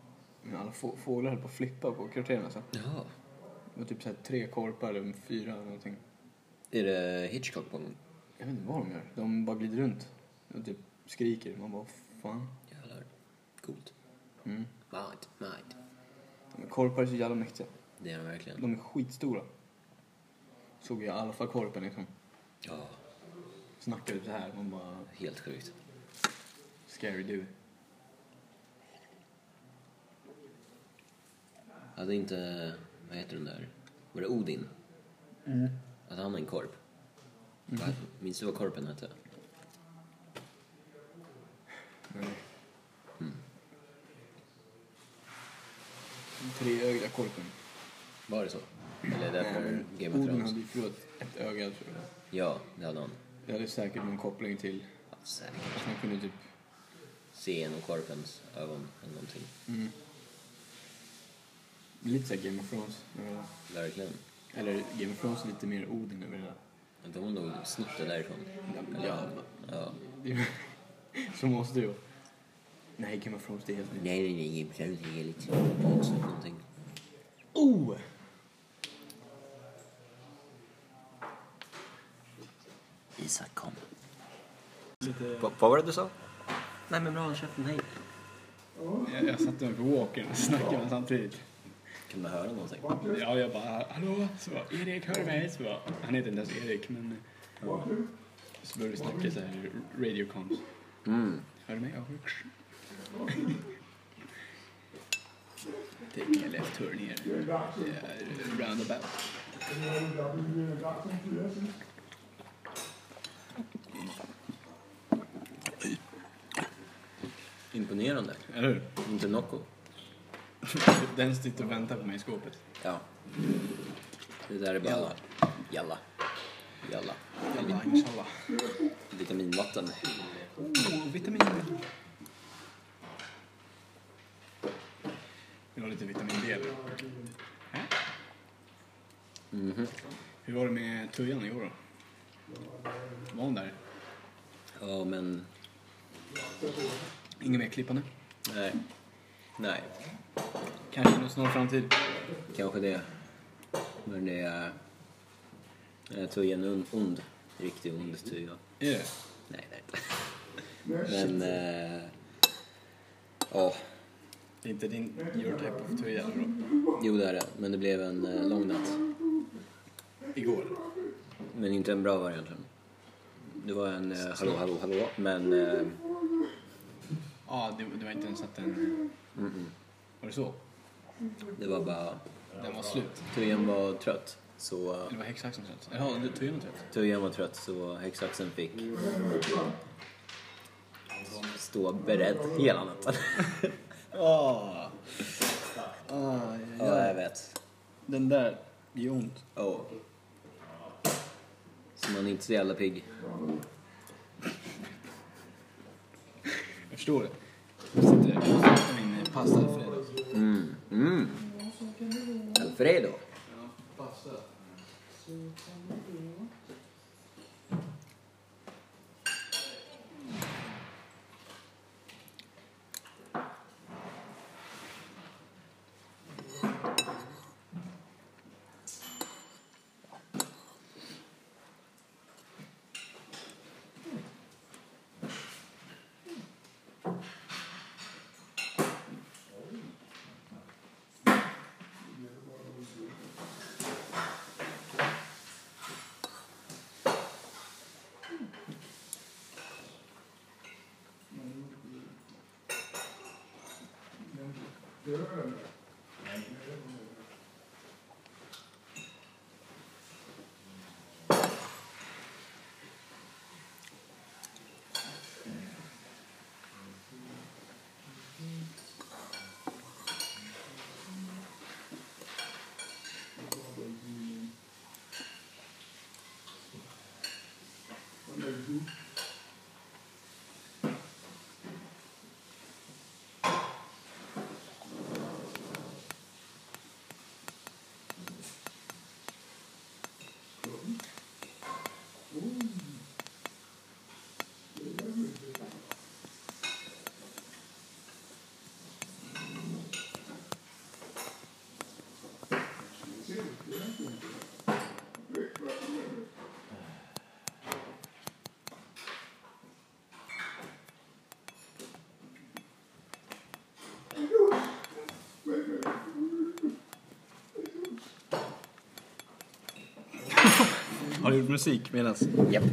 [SPEAKER 2] alla få- fåglar höll på att flippa på kvarteren alltså.
[SPEAKER 1] Jaha.
[SPEAKER 2] Det var typ såhär tre korpar eller fyra eller någonting.
[SPEAKER 1] Är det Hitchcock på gång?
[SPEAKER 2] Jag vet inte vad de gör. De bara glider runt och typ skriker. Man bara, fan.
[SPEAKER 1] Jävlar. Coolt.
[SPEAKER 2] Mm.
[SPEAKER 1] Mat, mat.
[SPEAKER 2] De är korpar är så jävla mäktiga.
[SPEAKER 1] Det är han verkligen.
[SPEAKER 2] De är skitstora. Såg jag i alla fall korpen liksom.
[SPEAKER 1] Ja,
[SPEAKER 2] Snackade typ så här. Man bara,
[SPEAKER 1] helt sjukt.
[SPEAKER 2] scary dude.
[SPEAKER 1] Hade inte, vad heter den där? Var det Odin?
[SPEAKER 2] Mm.
[SPEAKER 1] Att han är en korp? Vad- Minns du vad korpen hette?
[SPEAKER 2] Nej. Mm. Treögda korpen.
[SPEAKER 1] Var det så? Eller är det
[SPEAKER 2] Nej, men
[SPEAKER 1] därför Game of
[SPEAKER 2] Mm. Odin hade
[SPEAKER 1] Thrones?
[SPEAKER 2] ju förlorat ett öga tror jag.
[SPEAKER 1] Ja, det hade han.
[SPEAKER 2] Det hade säkert någon koppling till
[SPEAKER 1] Ja, säkert.
[SPEAKER 2] att han kunde typ...
[SPEAKER 1] Se genom korpens ögon eller någonting.
[SPEAKER 2] Mm. Lite såhär Game of Thrones. eller-
[SPEAKER 1] Verkligen.
[SPEAKER 2] Eller Game of Thrones är lite mer Odin över det där.
[SPEAKER 1] Men De har nog snott det därifrån.
[SPEAKER 2] Ja,
[SPEAKER 1] Ja.
[SPEAKER 2] det är- så måste det vara. Nej, Game of Thrones det är helt nytt.
[SPEAKER 1] Nej, nej, nej. Game of Thrones är liksom baksnott någonting.
[SPEAKER 2] Oh!
[SPEAKER 1] Isak kom.
[SPEAKER 2] Lite...
[SPEAKER 1] Vad var det du sa? Nej, men bra. Håll käften. Hej.
[SPEAKER 2] Jag, jag satte mig på walkern och snackade med samtidigt.
[SPEAKER 1] Kan man höra någonting?
[SPEAKER 2] Ja, jag bara hallå, så bara, Erik hör du mig? Så bara, han heter inte ens Erik men... Ja. Så började vi snacka såhär radiocoms.
[SPEAKER 1] Mm.
[SPEAKER 2] Hör du mig? Ja. Taking a left turn here. Eh, Yeah, roundabout.
[SPEAKER 1] Imponerande.
[SPEAKER 2] Eller hur?
[SPEAKER 1] Inte Nocco.
[SPEAKER 2] Den sitter och väntar på mig i skåpet.
[SPEAKER 1] Ja. Det där är bara...
[SPEAKER 2] Jalla.
[SPEAKER 1] Jalla. Jalla.
[SPEAKER 2] Jalla, inshallah.
[SPEAKER 1] Vitaminvatten.
[SPEAKER 2] Oh, vitaminer. Vill du ha lite vitamin D? eller? Hä?
[SPEAKER 1] Mhm.
[SPEAKER 2] Hur var det med tujan igår då? Var hon där?
[SPEAKER 1] Ja, men...
[SPEAKER 2] Inget mer klippande?
[SPEAKER 1] Nej. Nej.
[SPEAKER 2] Kanske inom snar framtid.
[SPEAKER 1] Kanske det. Men det är... eh, Tujan är ond. ond. Riktigt ond tuja.
[SPEAKER 2] Är det?
[SPEAKER 1] Nej, nej. Men... eh, Ja,
[SPEAKER 2] Det är inte din your type of tuja eller då?
[SPEAKER 1] jo det är det. Men det blev en eh, lång natt.
[SPEAKER 2] Igår?
[SPEAKER 1] Men inte en bra variant. Det var en eh, hallå, hallå, hallå. Men... eh,
[SPEAKER 2] Ja, det, det var inte ens att den... Var det så?
[SPEAKER 1] Det var bara...
[SPEAKER 2] Den var slut?
[SPEAKER 1] Tujan var trött. Så... eh,
[SPEAKER 2] Eller var häxsaxen slut? Jaha, det- typ. tujan var slut?
[SPEAKER 1] Tujan var trött så häxaxen fick stå beredd hela natten.
[SPEAKER 2] Åh! Ah,
[SPEAKER 1] ja, jag vet.
[SPEAKER 2] Den där gör ont.
[SPEAKER 1] Oh. Så man är inte så jävla pigg.
[SPEAKER 2] Jag förstår det. Jag sitter och äter min pasta Alfredo.
[SPEAKER 1] Mm. Mm. Alfredo.
[SPEAKER 2] Pasta? Har du gjort musik medans?
[SPEAKER 1] Japp.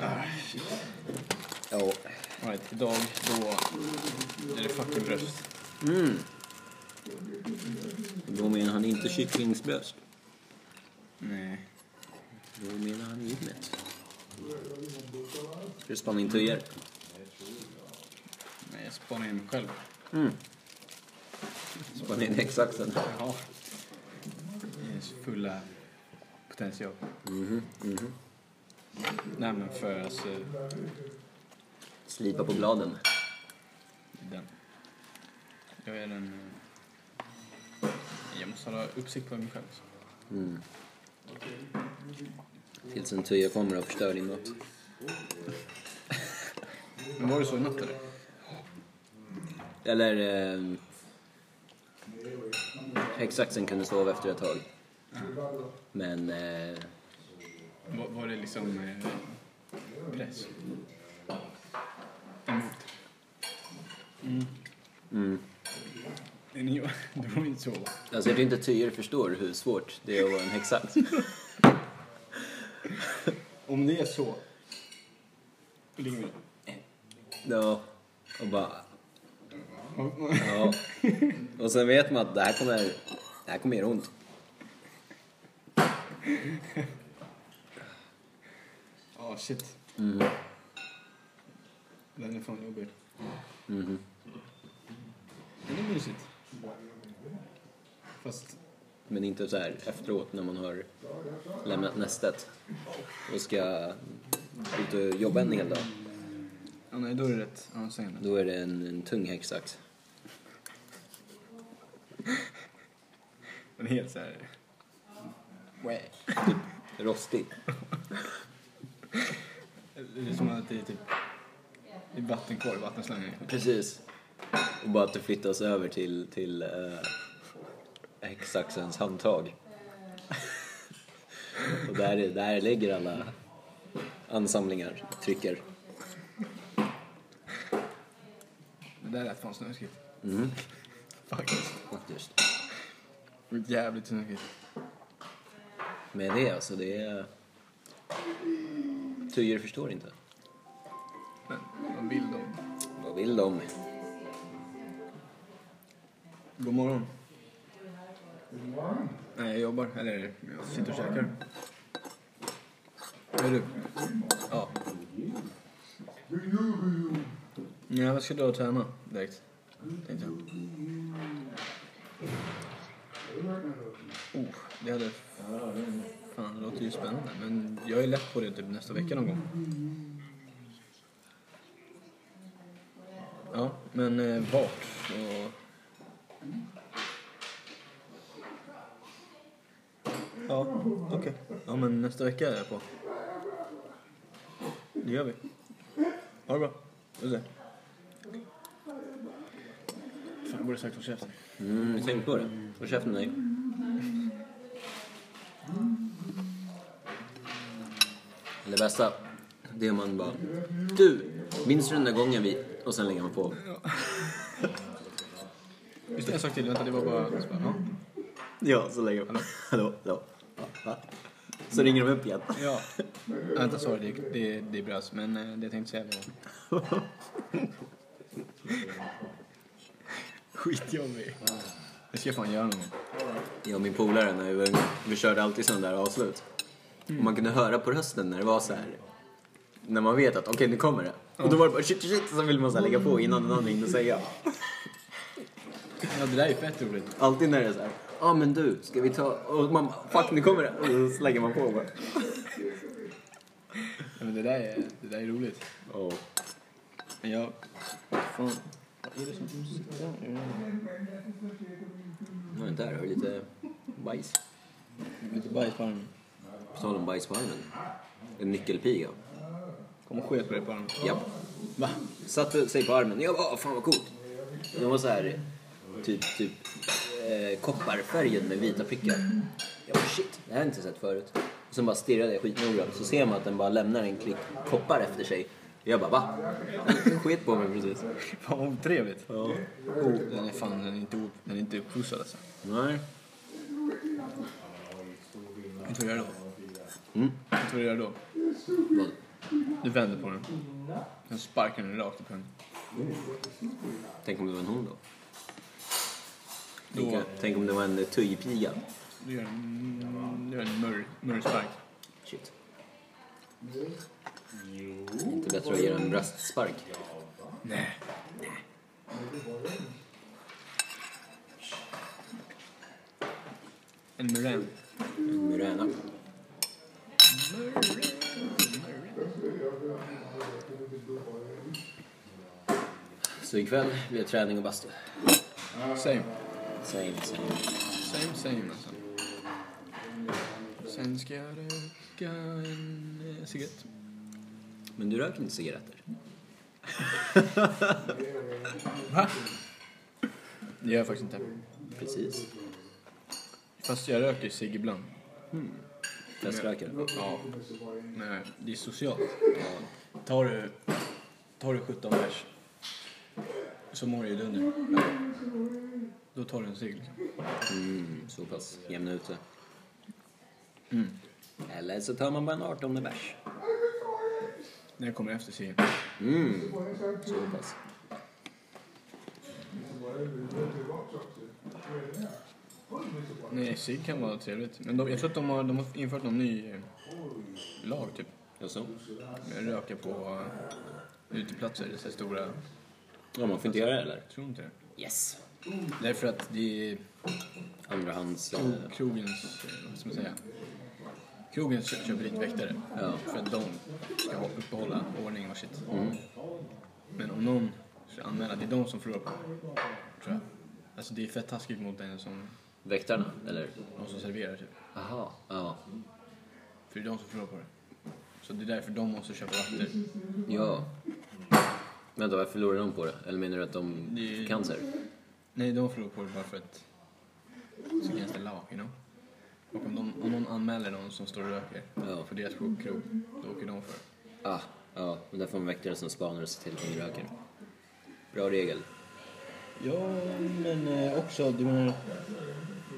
[SPEAKER 1] Ah, Ja.
[SPEAKER 2] Right, idag då är det fucking bröst.
[SPEAKER 1] Mm. Då menar han inte kycklingsbröst.
[SPEAKER 2] Nej.
[SPEAKER 1] Då menar han gymmet. Ska du spana in tyger?
[SPEAKER 2] Nej, jag spanar in mig själv.
[SPEAKER 1] Mm. Spana in häcksaxen.
[SPEAKER 2] Ja. Ens fulla potential.
[SPEAKER 1] Mhm, mhm.
[SPEAKER 2] Nej men för alltså,
[SPEAKER 1] Slipa på bladen.
[SPEAKER 2] den. Jag är en... eh, Jag måste hålla uppsikt på mig själv. så.
[SPEAKER 1] Mm. Tills en tyja kommer och förstör din mat.
[SPEAKER 2] Men var det så i natt eller?
[SPEAKER 1] Eller... Eh, häcksaxen kunde sova efter ett tag. Men... Eh,
[SPEAKER 2] Var, var det liksom eh, press? Emot? Mm.
[SPEAKER 1] mm.
[SPEAKER 2] Men jag- Då får vi inte sova.
[SPEAKER 1] Alltså jag tror inte tyger förstår hur svårt det är att vara en häcksax.
[SPEAKER 2] Om det är så. då ligger vi.
[SPEAKER 1] Ja, och bara... Ja. Och sen vet man att det här kommer, det här kommer göra ont.
[SPEAKER 2] Ja, shit.
[SPEAKER 1] Mm.
[SPEAKER 2] Den är fan jobbig.
[SPEAKER 1] Mhm.
[SPEAKER 2] Den är mysigt. Fast
[SPEAKER 1] Men inte så här efteråt när man har lämnat nästet och ska ut och jobba en hel dag.
[SPEAKER 2] Ja, nej, då är det rätt anseende.
[SPEAKER 1] Då är det en, en tung häcksax.
[SPEAKER 2] Den är helt såhär...
[SPEAKER 1] Typ rostig.
[SPEAKER 2] Det är som att det är typ... I vattenkorg, vattenslangen.
[SPEAKER 1] Precis. Och bara att det flyttas över till, till eh, häcksaxens handtag. och där, är- där ligger alla ansamlingar, trycker.
[SPEAKER 2] Det där lät fan snuskigt.
[SPEAKER 1] Mm.
[SPEAKER 2] Faktiskt.
[SPEAKER 1] Faktiskt.
[SPEAKER 2] Jävligt snuskigt.
[SPEAKER 1] Med det alltså, det är... Tyger förstår inte.
[SPEAKER 2] Men vad vill de?
[SPEAKER 1] Vad vill de?
[SPEAKER 2] God morgon. Nej, jag jobbar. Eller jag sitter och käkar. Vad är du? Ja. Nej, jag ska dra och träna direkt. Tänkte jag. Oh, det hade... Fan, det låter ju spännande. Men jag är lätt på det typ nästa vecka någon gång. Ja, men eh, vart? Och... Ja, okej. Ja, men nästa vecka är jag på. Det gör vi. Ha det bra. Puss och Fan, jag borde sagt håll käften.
[SPEAKER 1] Mm, tänk på det. Håll käften med dig. Det bästa, det är om man bara... Du! Minns du den där gången vi... Och sen lägger man på.
[SPEAKER 2] Just det, en sak till. Vänta, det var bara... så bara, Ja.
[SPEAKER 1] Ja, så lägger man Hallå? Hallå? Va? Va? Så ringer de upp igen.
[SPEAKER 2] ja. Ja, Vänta, sorry. Det, det, det är bröst. Men eh, det jag tänkte säga var... skitjobbig. Det ska jag fan göra någon gång.
[SPEAKER 1] Jag och min polare, när vi, var unga, vi körde alltid sådana där avslut. Och man kunde höra på rösten när det var så här. När man vet att okej, nu kommer det. Och då var det bara shit, shit, shit, så vill man så här lägga på innan någon hinner säga.
[SPEAKER 2] Ja, det där är ju fett roligt.
[SPEAKER 1] Alltid när det är så här. Ja ah, men du, ska vi ta... Och man bara, fuck nu kommer det. Och så lägger man på bara.
[SPEAKER 2] Ja, men det, där är, det där är roligt.
[SPEAKER 1] Oh.
[SPEAKER 2] Men jag... Fan. Vad är det som sitter där?
[SPEAKER 1] Ja, där har du lite bajs.
[SPEAKER 2] Lite bajs på armen.
[SPEAKER 1] På tal om bajs på armen. En nyckelpiga.
[SPEAKER 2] Kom och sket på dig på armen.
[SPEAKER 1] Japp.
[SPEAKER 2] Va?
[SPEAKER 1] Satte sig på armen. Jag bara, "Åh, fan vad coolt. Den var så här, typ, typ eh, kopparfärgad med vita prickar. Jag bara, shit, det här har jag inte sett förut. Och sen bara stirrade jag skitnoggrant. Så ser man att den bara lämnar en klick koppar efter sig. Jag bara, va? Den sket på mig precis.
[SPEAKER 2] Fan vad otrevligt.
[SPEAKER 1] Ja.
[SPEAKER 2] Oh, den är fan den är inte, op- den är inte uppskjutsad alltså.
[SPEAKER 1] Nej.
[SPEAKER 2] Vet du vad jag gör då?
[SPEAKER 1] Mm.
[SPEAKER 2] Vet du vad jag gör då?
[SPEAKER 1] Vad?
[SPEAKER 2] Du vänder på den. Sen sparkar den rakt i pungen.
[SPEAKER 1] Tänk om det var en hon då?
[SPEAKER 2] Då,
[SPEAKER 1] Tänk, tänk om det var en eh, tujpiga.
[SPEAKER 2] du gör en, du gör en murr, murrspark.
[SPEAKER 1] Shit. Inte bättre att ge den en bröstspark.
[SPEAKER 2] Nej. En murän.
[SPEAKER 1] En muräna. Så ikväll blir det träning och bastu.
[SPEAKER 2] Same.
[SPEAKER 1] Same, same.
[SPEAKER 2] Same, same alltså. Sen ska jag röka en eh, cigarett.
[SPEAKER 1] Men du röker inte cigaretter?
[SPEAKER 2] Va? Det gör jag faktiskt inte.
[SPEAKER 1] Precis.
[SPEAKER 2] Fast jag röker cigg ibland.
[SPEAKER 1] Feströkare?
[SPEAKER 2] Ja. Men det är socialt. Tar du, tar du 17 bärs så mår du ju dunder. Då tar du en cigg. liksom.
[SPEAKER 1] Mm, så pass. Jämna ute. Eller så tar man bara en 18 bärs.
[SPEAKER 2] Den kommer efter ciggen.
[SPEAKER 1] Mm, så pass.
[SPEAKER 2] Nej, cigg kan vara trevligt. Men de, jag tror att de har, de har infört någon ny eh, lag typ.
[SPEAKER 1] Jaså?
[SPEAKER 2] Med Röka på eh, uteplatser, så här stora. Jag
[SPEAKER 1] Ja, man får inte göra det eller?
[SPEAKER 2] tror inte det.
[SPEAKER 1] Yes.
[SPEAKER 2] Därför att det är
[SPEAKER 1] Andrahands... eh,
[SPEAKER 2] kro- krogens, eh, vad ska man säga? Krogens kö- köper dit väktare.
[SPEAKER 1] Ja.
[SPEAKER 2] För att de ska ha- uppehålla ordning och shit. Men om någon ska anmäla, det är de som förlorar på det. Tror jag. Alltså det är fett taskigt mot den som,
[SPEAKER 1] Väktarna, eller?
[SPEAKER 2] de som serverar typ.
[SPEAKER 1] Aha. Ja.
[SPEAKER 2] För det är de som förlorar på det. Så det är därför de måste köpa vakter.
[SPEAKER 1] Ja. Vänta, varför förlorar de på det? Eller menar du att de
[SPEAKER 2] Det-
[SPEAKER 1] får cancer?
[SPEAKER 2] Nej, de förlorar på det bara för att it's against the law, you know. Och om, de, om någon anmäler någon som står och röker
[SPEAKER 1] Ja.
[SPEAKER 2] för deras krog, då åker de för det.
[SPEAKER 1] Ah, ja. Men där får man väktare som spanar och ser till att de röker. Bra regel.
[SPEAKER 2] Ja, men eh, också, du menar...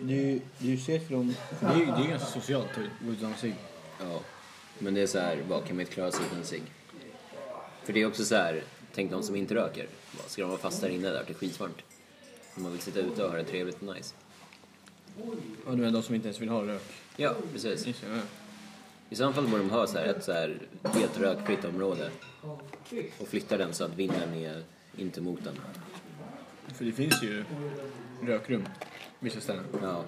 [SPEAKER 2] Du, du ser för dem... Det är ju det är ganska socialt att gå utan cigg.
[SPEAKER 1] Ja. Men det är så här, vad kan vi klara sig utan cigg? För det är också så här, tänk de som inte röker. Vad, Ska de vara fast där inne där till skitvarmt? Om man vill sitta ute och ha det trevligt och nice.
[SPEAKER 2] Ja, du menar de som inte ens vill ha rök?
[SPEAKER 1] Ja, precis.
[SPEAKER 2] Just det, ja.
[SPEAKER 1] I så fall borde de ha så här ett så här helt rökfritt område och flytta den så att vinden är inte mot den.
[SPEAKER 2] För det finns ju rökrum på vissa ställen.
[SPEAKER 1] Ja,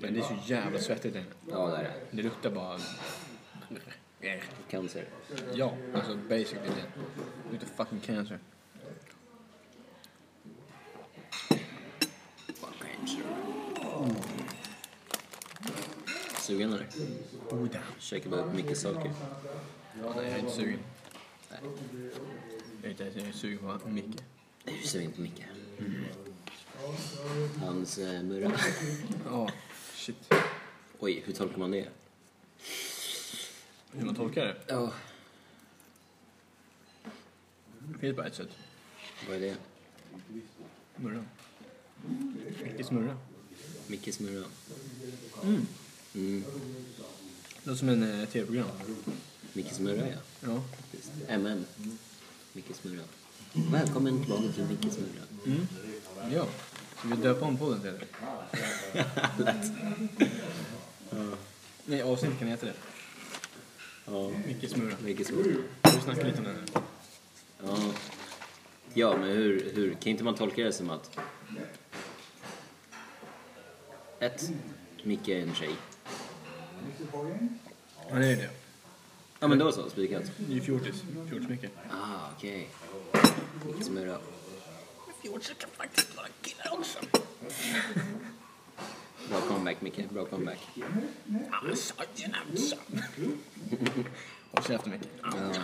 [SPEAKER 2] Men det är så jävla svettigt där inne.
[SPEAKER 1] ja där är
[SPEAKER 2] Det luktar bara...
[SPEAKER 1] det. Cancer.
[SPEAKER 2] Ja, alltså basically det. Det luktar fucking cancer.
[SPEAKER 1] Cancer. Sugen eller?
[SPEAKER 2] Boda.
[SPEAKER 1] Käkar bara upp mycket saker.
[SPEAKER 2] Ja, nej, jag är inte sugen. Jag är inte jag är sugen på mycket.
[SPEAKER 1] Du suger inte mycket. Hans eh, murra.
[SPEAKER 2] Ja, shit.
[SPEAKER 1] Oj, hur tolkar man det?
[SPEAKER 2] Hur man tolkar det?
[SPEAKER 1] Ja,
[SPEAKER 2] Det finns bara ett sätt.
[SPEAKER 1] vad är det?
[SPEAKER 2] Murra. Riktigt murra.
[SPEAKER 1] Mickes murra. Mm.
[SPEAKER 2] Det låter som en eh, tv-program.
[SPEAKER 1] Mickes murra ja.
[SPEAKER 2] Ja.
[SPEAKER 1] Faktiskt. MM. Mickes murra. Välkommen tillbaka till Mickes murra.
[SPEAKER 2] Ja. Ska vi döpa om podden till det? Nej, avsnittet kan heta det.
[SPEAKER 1] Ja.
[SPEAKER 2] Micke Smura.
[SPEAKER 1] Mycket svårt.
[SPEAKER 2] Vi snackar lite om det nu.
[SPEAKER 1] Ja. ja, men hur, hur kan inte man tolka det som att... Ett, Micke är en tjej.
[SPEAKER 2] Ja, det är det.
[SPEAKER 1] Ja, men då så, spikat.
[SPEAKER 2] Ny fjortis. Fjortis-Micke.
[SPEAKER 1] Ah, okej. Lite smura. Bra comeback, Micke. Bra comeback.
[SPEAKER 2] Håll käften Micke.
[SPEAKER 1] Ja.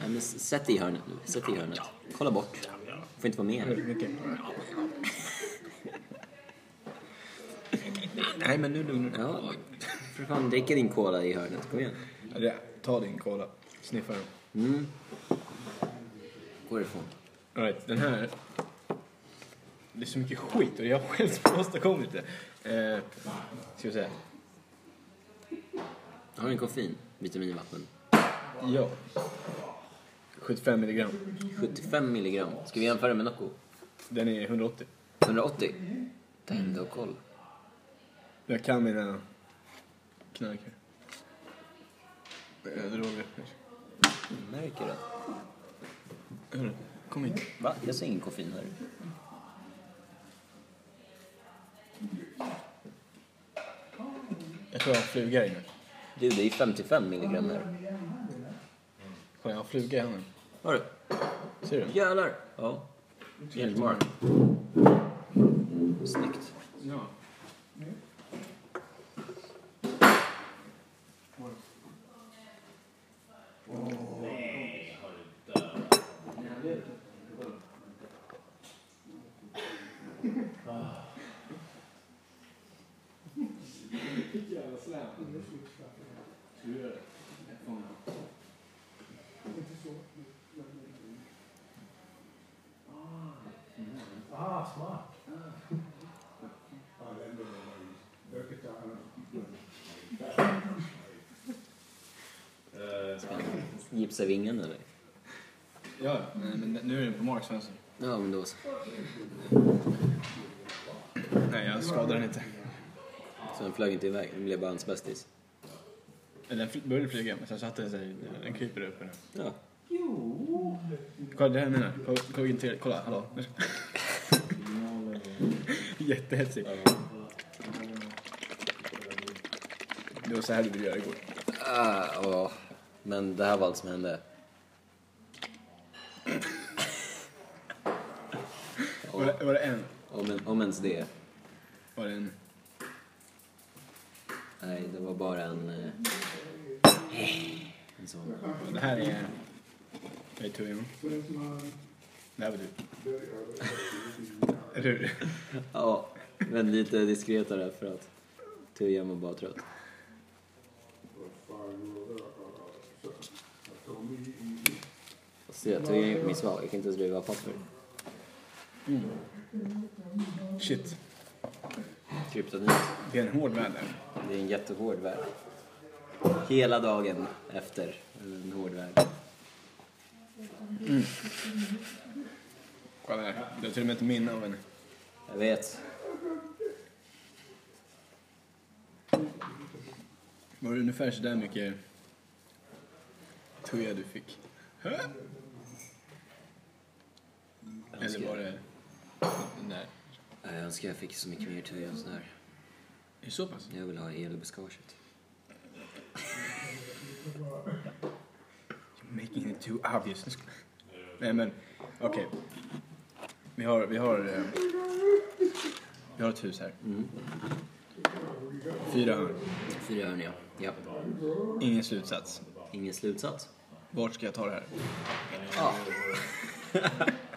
[SPEAKER 1] Nej, men s- sätt dig i hörnet nu. Sätt dig i hörnet. Kolla bort. Får inte vara med här.
[SPEAKER 2] Micke. Nej, men nu lugnar du
[SPEAKER 1] Ja. För fan, dricka din cola i hörnet. Kom igen.
[SPEAKER 2] dig. Ta din cola. Sniffa den.
[SPEAKER 1] Mm. Gå ifrån.
[SPEAKER 2] All right, den här... Det är så mycket skit och jag har själv som åstadkommit det. Eh, ska vi säga.
[SPEAKER 1] Har du en koffein? Vitaminvatten?
[SPEAKER 2] Ja. 75 milligram.
[SPEAKER 1] 75 milligram. Ska vi jämföra med Nocco?
[SPEAKER 2] Den är 180.
[SPEAKER 1] 180? Damn, du har koll.
[SPEAKER 2] Jag kan mina knark här. Eh, Droger kanske.
[SPEAKER 1] Märker det.
[SPEAKER 2] Hörru, kom hit.
[SPEAKER 1] Va? Jag ser ingen koffein här.
[SPEAKER 2] Jag tror jag har en fluga i nu.
[SPEAKER 1] Du, det är 55 milligram här.
[SPEAKER 2] Kolla, jag har en fluga i handen.
[SPEAKER 1] Har du?
[SPEAKER 2] Ser du?
[SPEAKER 1] Jävlar! Ja. Enligt Mark. Snyggt.
[SPEAKER 2] Ja.
[SPEAKER 1] Eh, Gipsa vingen eller?
[SPEAKER 2] Ja, nej, men nu är den på Mark Svensson.
[SPEAKER 1] Ja, men då så.
[SPEAKER 2] Nej, jag skadar den inte.
[SPEAKER 1] Så den flög inte iväg. Den blev bara hans bästis.
[SPEAKER 2] Eller Den fl- började flyga, men sen satte den sig. Den kryper upp nu.
[SPEAKER 1] Ja.
[SPEAKER 2] Kolla, det här är mina. Kolla, kolla, in till- kolla hallå. Jättehetsig. Det var så här du ville göra igår.
[SPEAKER 1] Ah, åh. Men det här var allt som hände.
[SPEAKER 2] Var det, var det en?
[SPEAKER 1] Om, en, om ens det.
[SPEAKER 2] Var det en?
[SPEAKER 1] Nej, det var bara en... Eh, en sån.
[SPEAKER 2] Det här är... Jag är Tujon. Det här var du. Eller hur?
[SPEAKER 1] Ja, men lite diskretare för att Tujan var bara trött. Se, Tujan gick på mitt svar. Jag kan inte ens driva papper.
[SPEAKER 2] Shit.
[SPEAKER 1] Kryptonit.
[SPEAKER 2] Det är en hård värld där.
[SPEAKER 1] Det är en jättehård värld. Hela dagen efter en hård värld.
[SPEAKER 2] Kolla här. Du har till och med ett minne av en...
[SPEAKER 1] Jag vet.
[SPEAKER 2] Var det ungefär sådär mycket Tuja du fick? Hä?
[SPEAKER 1] Jag
[SPEAKER 2] Eller
[SPEAKER 1] önskar,
[SPEAKER 2] var det... Nej.
[SPEAKER 1] jag, önskar jag fick så mycket mer Tuja än sådär.
[SPEAKER 2] Är det så pass?
[SPEAKER 1] Jag vill ha hela buskaget.
[SPEAKER 2] Making it too obvious. Nej men, okej. Vi har, vi har... eh, Vi har ett hus här. Fyra hörn.
[SPEAKER 1] Fyra hörn, ja. ja.
[SPEAKER 2] Ingen slutsats.
[SPEAKER 1] Ingen slutsats.
[SPEAKER 2] Vart ska jag ta det här?
[SPEAKER 1] Ja.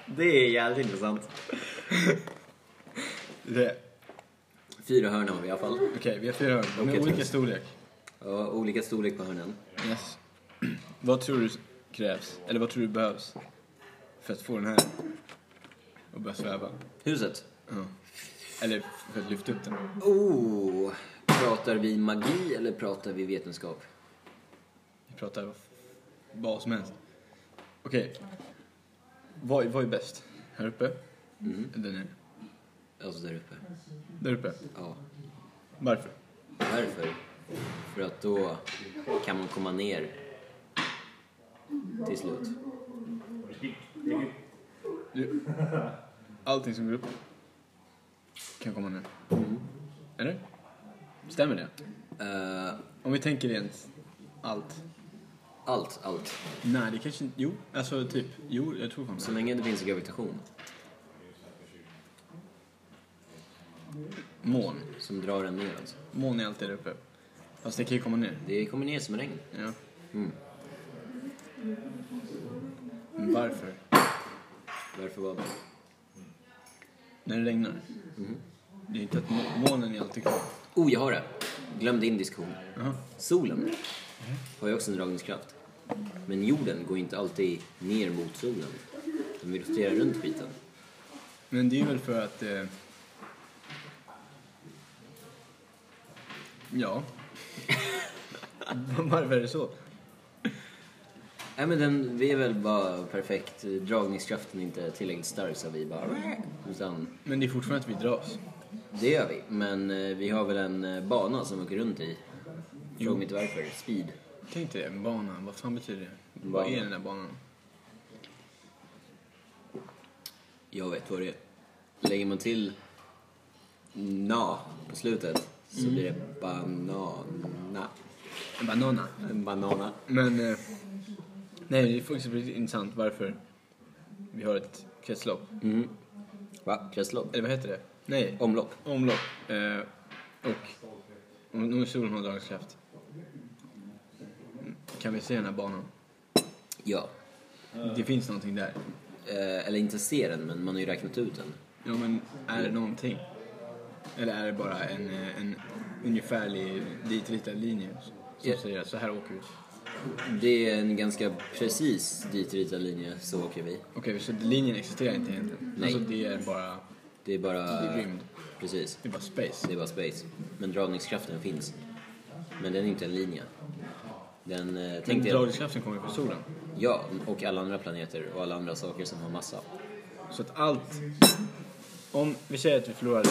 [SPEAKER 1] det är jävligt intressant.
[SPEAKER 2] Det-
[SPEAKER 1] Fyra hörn har vi i alla fall.
[SPEAKER 2] Okej, vi har fyra hörn. De
[SPEAKER 1] Okej,
[SPEAKER 2] är olika
[SPEAKER 1] trevligt.
[SPEAKER 2] storlek.
[SPEAKER 1] Ja, olika storlek på hörnen.
[SPEAKER 2] Yes. Vad tror du krävs? Eller vad tror du behövs? För att få den här att börja sväva?
[SPEAKER 1] Huset.
[SPEAKER 2] Ja. Eller för att lyfta upp den?
[SPEAKER 1] Oh, pratar vi magi eller pratar vi vetenskap?
[SPEAKER 2] Vi pratar vad som helst. Okej. Vad, vad är bäst? Här uppe? Eller där nere?
[SPEAKER 1] Alltså där uppe.
[SPEAKER 2] Där uppe.
[SPEAKER 1] Ja.
[SPEAKER 2] Varför?
[SPEAKER 1] Varför? För att då kan man komma ner till slut.
[SPEAKER 2] Du, allting som går upp kan komma ner. Eller? Stämmer det?
[SPEAKER 1] Eh,
[SPEAKER 2] Om vi tänker rent allt.
[SPEAKER 1] allt, allt.
[SPEAKER 2] Nej, det kanske inte... Jo, alltså typ. Jo, jag tror fan
[SPEAKER 1] Så
[SPEAKER 2] det.
[SPEAKER 1] länge det finns gravitation
[SPEAKER 2] Moln.
[SPEAKER 1] som drar en neråt.
[SPEAKER 2] Moln är alltid där uppe. Fast det kan ju komma ner.
[SPEAKER 1] Det kommer ner som regn.
[SPEAKER 2] Ja.
[SPEAKER 1] Mm.
[SPEAKER 2] Men varför?
[SPEAKER 1] Varför var det?
[SPEAKER 2] När det regnar?
[SPEAKER 1] Mm.
[SPEAKER 2] Det är inte att mo- molnen är alltid kvar.
[SPEAKER 1] Oh, jag har det! Glömde indisk horn.
[SPEAKER 2] Jaha.
[SPEAKER 1] Solen har ju också en dragningskraft. Men jorden går ju inte alltid ner mot solen. Den vill rotera runt skiten.
[SPEAKER 2] Men det är väl för att... Eh... Ja. varför är det så?
[SPEAKER 1] Nej men den, vi är väl bara perfekt. Dragningskraften är inte tillräckligt stark så vi bara... Utan
[SPEAKER 2] Men det är fortfarande att vi dras.
[SPEAKER 1] Det gör vi, men eh, vi har väl en eh, bana som vi åker runt i. Fråga mig inte varför. Speed.
[SPEAKER 2] Tänk dig det, en bana. Vad fan betyder det?
[SPEAKER 1] En
[SPEAKER 2] Vad
[SPEAKER 1] bana.
[SPEAKER 2] är den där banan?
[SPEAKER 1] Jag vet vad det är. Lägger man till na på slutet så blir det banana.
[SPEAKER 2] En banana.
[SPEAKER 1] En banana.
[SPEAKER 2] Men... Eh... Nej, det är faktiskt väldigt intressant varför vi har ett kretslopp.
[SPEAKER 1] Mm. Va? Kretslopp?
[SPEAKER 2] Eller vad heter det? Nej,
[SPEAKER 1] Omlopp?
[SPEAKER 2] omlopp. Eh, och... Om om solen har dragningskraft. Kan vi se den här banan?
[SPEAKER 1] Ja.
[SPEAKER 2] Det finns någonting där.
[SPEAKER 1] Eh, eller inte ser den, men man har ju räknat ut den.
[SPEAKER 2] Ja, men är det någonting? Eller är det bara en, eh, en ungefärlig ditritad linje som
[SPEAKER 1] Ja.
[SPEAKER 2] säger att så här åker vi?
[SPEAKER 1] Det är en ganska precis ditritad linje, så åker vi.
[SPEAKER 2] Okej, så linjen existerar inte egentligen?
[SPEAKER 1] Nej.
[SPEAKER 2] Alltså det är bara...
[SPEAKER 1] Det är bara...
[SPEAKER 2] Det är rymd.
[SPEAKER 1] Precis.
[SPEAKER 2] Det är bara space.
[SPEAKER 1] Det är bara space. Men dragningskraften finns. Men den är inte en linje. Den, eh,
[SPEAKER 2] Men
[SPEAKER 1] tänk dig,
[SPEAKER 2] dragningskraften kommer ju från solen.
[SPEAKER 1] ja, och alla andra planeter och alla andra saker som har massa.
[SPEAKER 2] Så att allt... Om vi säger att vi förlorade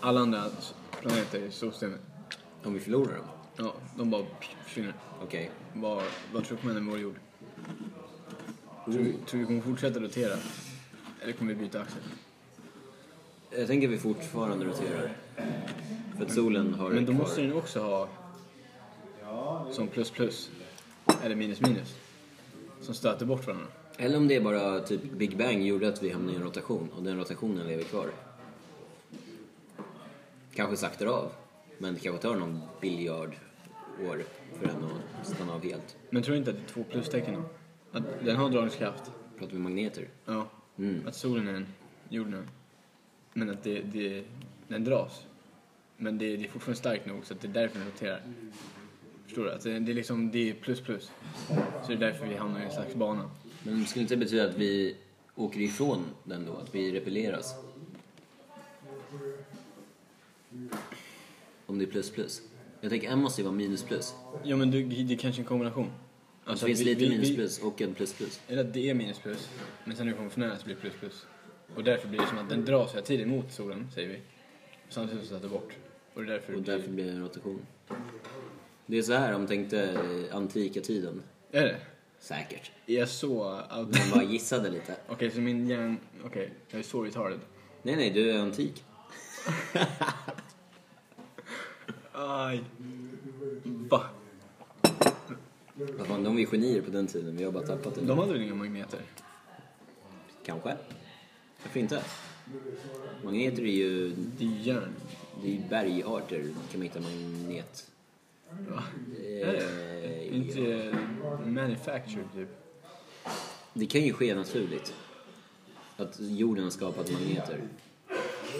[SPEAKER 2] alla andra s- planeter i solsystemet.
[SPEAKER 1] Om vi förlorar dem?
[SPEAKER 2] Ja, de bara försvinner.
[SPEAKER 1] Okej.
[SPEAKER 2] Vad vad tror du kommer hända med vår jord? Tror vi, tror vi kommer fortsätta rotera? Eller kommer vi byta axel?
[SPEAKER 1] Jag tänker vi fortfarande roterar. För att solen har
[SPEAKER 2] Men då
[SPEAKER 1] kvar-
[SPEAKER 2] måste den också ha som plus plus. Eller minus minus. Som stöter bort varandra.
[SPEAKER 1] Eller om det är bara typ Big Bang gjorde att vi hamnade i en rotation och den rotationen lever kvar. Kanske saktar av, men det kanske tar någon biljard år för den att stanna av helt.
[SPEAKER 2] Men tror du inte att det är två plustecken då? Att den har dragningskraft.
[SPEAKER 1] Pratar vi magneter?
[SPEAKER 2] Ja.
[SPEAKER 1] Mm.
[SPEAKER 2] Att solen är en, jorden är en. Men att det, det, den dras. Men det, det är fortfarande starkt nog så att det är därför den roterar. Förstår du? Att det, det är liksom, det är plus plus. Så det är därför vi hamnar i en slags bana.
[SPEAKER 1] Men skulle inte det betyda att vi åker ifrån den då? Att vi repelleras? Om det är plus plus. Jag tänker M måste ju vara minus plus.
[SPEAKER 2] Ja men du, det är kanske en kombination.
[SPEAKER 1] Alltså
[SPEAKER 2] Alltså,
[SPEAKER 1] det finns
[SPEAKER 2] vi-
[SPEAKER 1] lite
[SPEAKER 2] vi-
[SPEAKER 1] minus
[SPEAKER 2] vi-
[SPEAKER 1] plus och en plus plus.
[SPEAKER 2] Eller att det är minus plus, men sen när du kommer för nära så blir det plus plus. Och därför blir det som att den dras hela tiden mot solen, säger vi. Samtidigt som den stöter bort. Och det är därför
[SPEAKER 1] Och
[SPEAKER 2] det
[SPEAKER 1] därför
[SPEAKER 2] blir...
[SPEAKER 1] blir det en rotation. Det är så här de tänkte eh, antika tiden.
[SPEAKER 2] Är det?
[SPEAKER 1] Säkert.
[SPEAKER 2] Är jag så out...
[SPEAKER 1] Man
[SPEAKER 2] Okej,
[SPEAKER 1] bara gissade lite.
[SPEAKER 2] så min hjärn... Okej, jag är så retarded.
[SPEAKER 1] Nej, nej, du är antik.
[SPEAKER 2] Aj. Va?
[SPEAKER 1] Vad fan, de var ju genier på den tiden. Vi har bara tappat det.
[SPEAKER 2] De hade väl inga magneter?
[SPEAKER 1] Kanske. Varför inte? Magneter är ju...
[SPEAKER 2] Det är järn.
[SPEAKER 1] Det är ju bergarter. Kan man hitta magnet...
[SPEAKER 2] Va? Är det?
[SPEAKER 1] Eh,
[SPEAKER 2] Inte
[SPEAKER 1] ja.
[SPEAKER 2] eh, manufactured, typ.
[SPEAKER 1] Det kan ju ske naturligt. Att jorden har skapat magneter.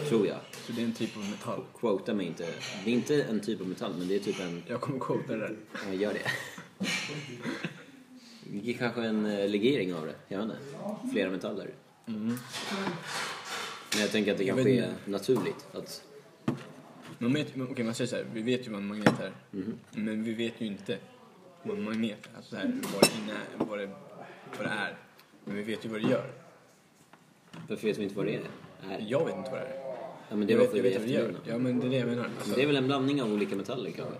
[SPEAKER 1] Tror jag.
[SPEAKER 2] Så det är en typ av metall.
[SPEAKER 1] Quota mig inte. Det är inte en typ av metall, men det är typ en...
[SPEAKER 2] Jag kommer quota det där.
[SPEAKER 1] Ja, gör det. Det är kanske en eh, legering av det. Jag vet inte. Flera metaller. Men jag tänker att det
[SPEAKER 2] Mm. Jag
[SPEAKER 1] kanske
[SPEAKER 2] vet
[SPEAKER 1] är naturligt. Att...
[SPEAKER 2] Man vet, men, okej, man säger så här, vi vet ju vad en magnet är. Men vi vet ju inte vad en magnet är. Alltså så här, vad, det inne, vad, det, vad det är. Men vi vet ju vad det gör.
[SPEAKER 1] Varför vet vi inte vad det är? Nej.
[SPEAKER 2] Jag vet inte vad det är.
[SPEAKER 1] Ja, men det
[SPEAKER 2] jag
[SPEAKER 1] var
[SPEAKER 2] vet,
[SPEAKER 1] för
[SPEAKER 2] jag
[SPEAKER 1] i
[SPEAKER 2] vet vad det gör.
[SPEAKER 1] eftermiddagen.
[SPEAKER 2] Ja, men det är det jag menar.
[SPEAKER 1] Men
[SPEAKER 2] Alltså,
[SPEAKER 1] Det är väl en blandning av olika metaller kanske?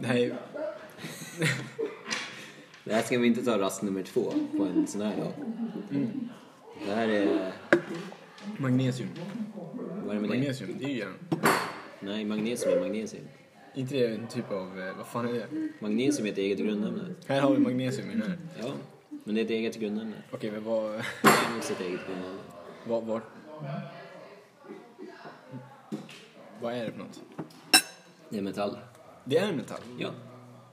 [SPEAKER 2] det här är,
[SPEAKER 1] Det här ska vi inte ta rast nummer två på en sån här dag.
[SPEAKER 2] Mm.
[SPEAKER 1] Det här är...
[SPEAKER 2] magnesium.
[SPEAKER 1] Vad är det med det?
[SPEAKER 2] Magnesium, det är ju järn.
[SPEAKER 1] Nej, magnesium är magnesium.
[SPEAKER 2] inte det en typ av, eh, vad fan är det?
[SPEAKER 1] Magnesium är ett eget grundämne.
[SPEAKER 2] Här har vi magnesium i den här.
[SPEAKER 1] Ja, men det är ett eget grundämne.
[SPEAKER 2] Okej, men vad,
[SPEAKER 1] Det är också ett eget grundämne.
[SPEAKER 2] vad, vad? Vad är det för något?
[SPEAKER 1] Det är metall.
[SPEAKER 2] Det är en metall.
[SPEAKER 1] Ja.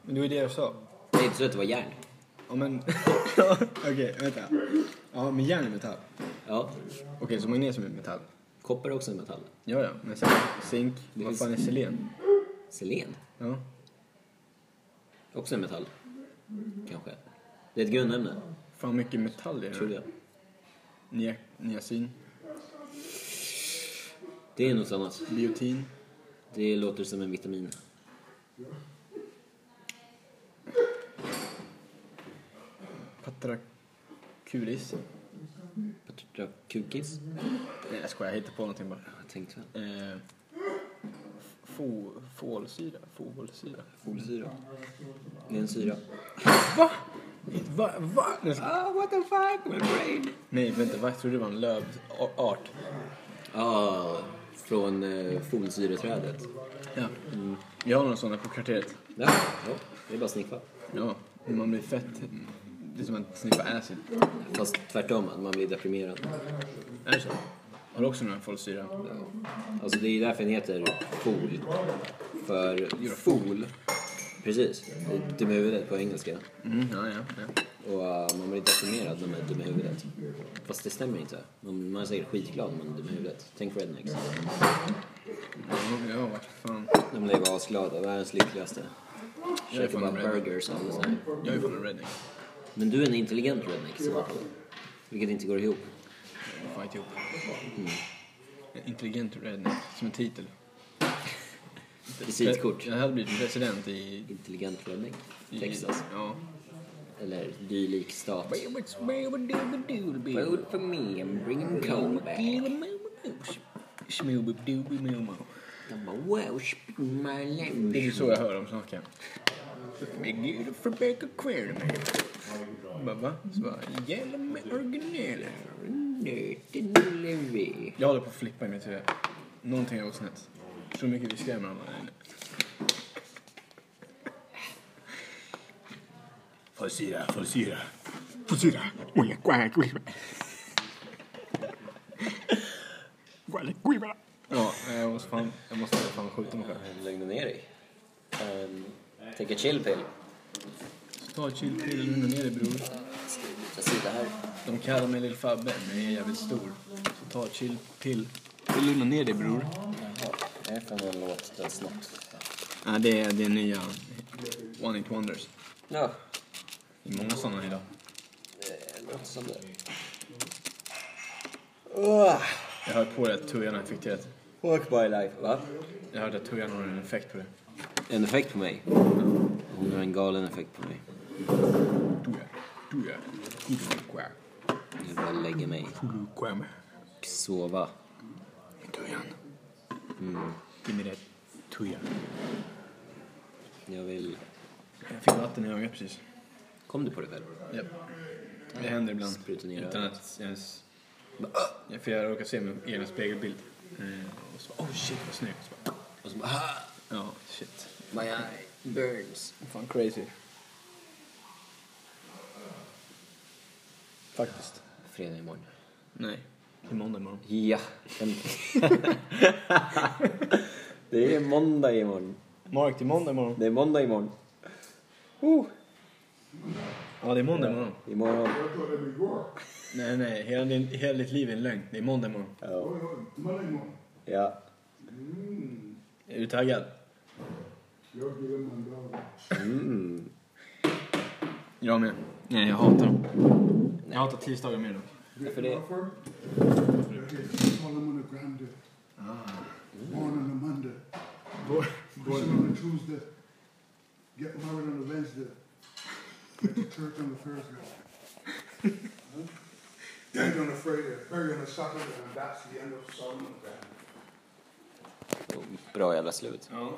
[SPEAKER 2] Men det var ju det jag sa.
[SPEAKER 1] Det är inte så att det var järn.
[SPEAKER 2] Ja, men... Okej, vänta. Ja, men järn är metall.
[SPEAKER 1] Ja.
[SPEAKER 2] Okej, så magnesium är metall.
[SPEAKER 1] Koppar är också en metall.
[SPEAKER 2] Ja, ja. Men sen zink.
[SPEAKER 1] Det
[SPEAKER 2] Vad
[SPEAKER 1] finns-
[SPEAKER 2] fan är selen?
[SPEAKER 1] Selen?
[SPEAKER 2] Ja.
[SPEAKER 1] Också en metall. Kanske. Det är ett grundämne,
[SPEAKER 2] Fan mycket metall i den
[SPEAKER 1] trodde
[SPEAKER 2] här.
[SPEAKER 1] jag.
[SPEAKER 2] Nia- Niacin.
[SPEAKER 1] Det är något annat.
[SPEAKER 2] Biotin.
[SPEAKER 1] Det låter som en vitamin.
[SPEAKER 2] Patraculis.
[SPEAKER 1] Kukis?
[SPEAKER 2] Nej, jag skojar. Jag hittar på någonting bara.
[SPEAKER 1] Jag tänkte väl.
[SPEAKER 2] Eh, fo- folsyra? Folsyra?
[SPEAKER 1] Folsyra. Det är en syra.
[SPEAKER 2] Va? Va? Va? Nej, jag skojar.
[SPEAKER 1] Ah, what the fuck, my brain!
[SPEAKER 2] Nej, vänta. Vad? Jag trodde det var en lövart.
[SPEAKER 1] Ah, från eh, folsyreträdet.
[SPEAKER 2] Ja. Jag har några sådana på kvarteret.
[SPEAKER 1] Ja, ja, det är bara att sniffa.
[SPEAKER 2] Ja, när man blir fett. Det är som att sniffa acid.
[SPEAKER 1] Fast tvärtom, att man blir deprimerad.
[SPEAKER 2] Är det så? Har du också någon folsyra?
[SPEAKER 1] Ja. Alltså det är ju därför den heter FOL. För FOL, precis, det är dum i huvudet på engelska.
[SPEAKER 2] Mm, ja, ja, ja.
[SPEAKER 1] Och eh, man blir deprimerad när man är dum i huvudet. Fast det stämmer inte. Man, man är säkert skitglad när man är dum i huvudet. Tänk rednecks.
[SPEAKER 2] Ja, ja, vart fan.
[SPEAKER 1] De blev asglada, världens lyckligaste.
[SPEAKER 2] Jag är
[SPEAKER 1] Käkar
[SPEAKER 2] fan
[SPEAKER 1] bara
[SPEAKER 2] en redneck.
[SPEAKER 1] burgers och allt sånt där.
[SPEAKER 2] Jag är fan en redneck.
[SPEAKER 1] Men du är en intelligent redneck i så fall. Vilket inte går ihop.
[SPEAKER 2] Fight ihop. En intelligent redneck, som en titel.
[SPEAKER 1] Visitkort.
[SPEAKER 2] Jag hade blivit president i...
[SPEAKER 1] Intelligent redneck.
[SPEAKER 2] i
[SPEAKER 1] Texas.
[SPEAKER 2] Ja.
[SPEAKER 1] Eller dylik stat.
[SPEAKER 2] Smooby-dooby-dooby-dooby.
[SPEAKER 1] Vote for me, I'm bringing coal back.
[SPEAKER 2] Smooby-dooby-dooby-moomoo.
[SPEAKER 1] De bara wow, speak my
[SPEAKER 2] Det är
[SPEAKER 1] language.
[SPEAKER 2] så jag hör dem snacka. Men gud, Rebecca Queerman. Bara va? Så bara, jävla med originalet.
[SPEAKER 1] Nöten lever.
[SPEAKER 2] Jag håller på att flippa i mitt huvud. Någonting har gått snett. Så mycket vi skrämmer honom här inne. Folsyra, folsyra. Folsyra. Oja, koala, kuivara. Koala, kuivara. Ja, jag måste fan, jag måste fan skjuta mig själv.
[SPEAKER 1] Lugna Ehm, ner dig. Um, take a chill pill.
[SPEAKER 2] Ta ett chillpill och lugna ner dig bror.
[SPEAKER 1] Jag sitter här.
[SPEAKER 2] De kallar mig Lill Fabbe, men jag är jävligt stor. Så ta ett chillpill. Och lugna ner dig bror.
[SPEAKER 1] Jaha, det är från en låt där snott.
[SPEAKER 2] Ja, det är, det är nya One It Wonders.
[SPEAKER 1] Ja, eh,
[SPEAKER 2] Det är många sådana idag.
[SPEAKER 1] det låter som det. Oh,
[SPEAKER 2] Jag hörde på det att tujan har infekterat.
[SPEAKER 1] walk by life, va?
[SPEAKER 2] Jag hörde att tujan har en effekt på det.
[SPEAKER 1] En effekt på mig. Hon har en galen effekt på mig.
[SPEAKER 2] Tuja, tuja, kudukwä,
[SPEAKER 1] Jag vill bara lägga mig
[SPEAKER 2] kudukwä.
[SPEAKER 1] och sova.
[SPEAKER 2] Tujan. Ge mig det, tuja.
[SPEAKER 1] Jag vill...
[SPEAKER 2] Jag fick vatten i ögat precis.
[SPEAKER 1] Kom du på det själv?
[SPEAKER 2] Japp. Det händer ibland.
[SPEAKER 1] Sprutar ner
[SPEAKER 2] Utan
[SPEAKER 1] ögat.
[SPEAKER 2] att jag ens... Jag får jag råkar se min egen spegelbild. Eh, Och så bara, oh shit vad snygg. Så bara,
[SPEAKER 1] Och så bara... "Ah,
[SPEAKER 2] Ja, shit.
[SPEAKER 1] My eye burns.
[SPEAKER 2] Fan crazy. Faktiskt.
[SPEAKER 1] Fredag imorgon.
[SPEAKER 2] Nej. Det är måndag imorgon.
[SPEAKER 1] Ja. det är måndag imorgon.
[SPEAKER 2] Mark, det är måndag imorgon.
[SPEAKER 1] Det är måndag imorgon.
[SPEAKER 2] Ja, det är måndag imorgon.
[SPEAKER 1] Imorgon.
[SPEAKER 2] Nej, nej. Hela, din, hela ditt liv är en lögn. Det är måndag imorgon.
[SPEAKER 1] Ja. ja.
[SPEAKER 2] Är du taggad?
[SPEAKER 1] Mm.
[SPEAKER 2] Jag med. Nej, jag hatar dem. Jag hatar tisdagar mer dock.
[SPEAKER 1] Varför det?
[SPEAKER 3] Born on a Grande. Born on a Monday. Born on a Tuesday. Get married on a Wednesday. Get to church on a Thursday. Dead on the Friday, buried on the Saturday, and that's the end of Solomon.
[SPEAKER 1] Bra jävla slut.
[SPEAKER 4] Ja.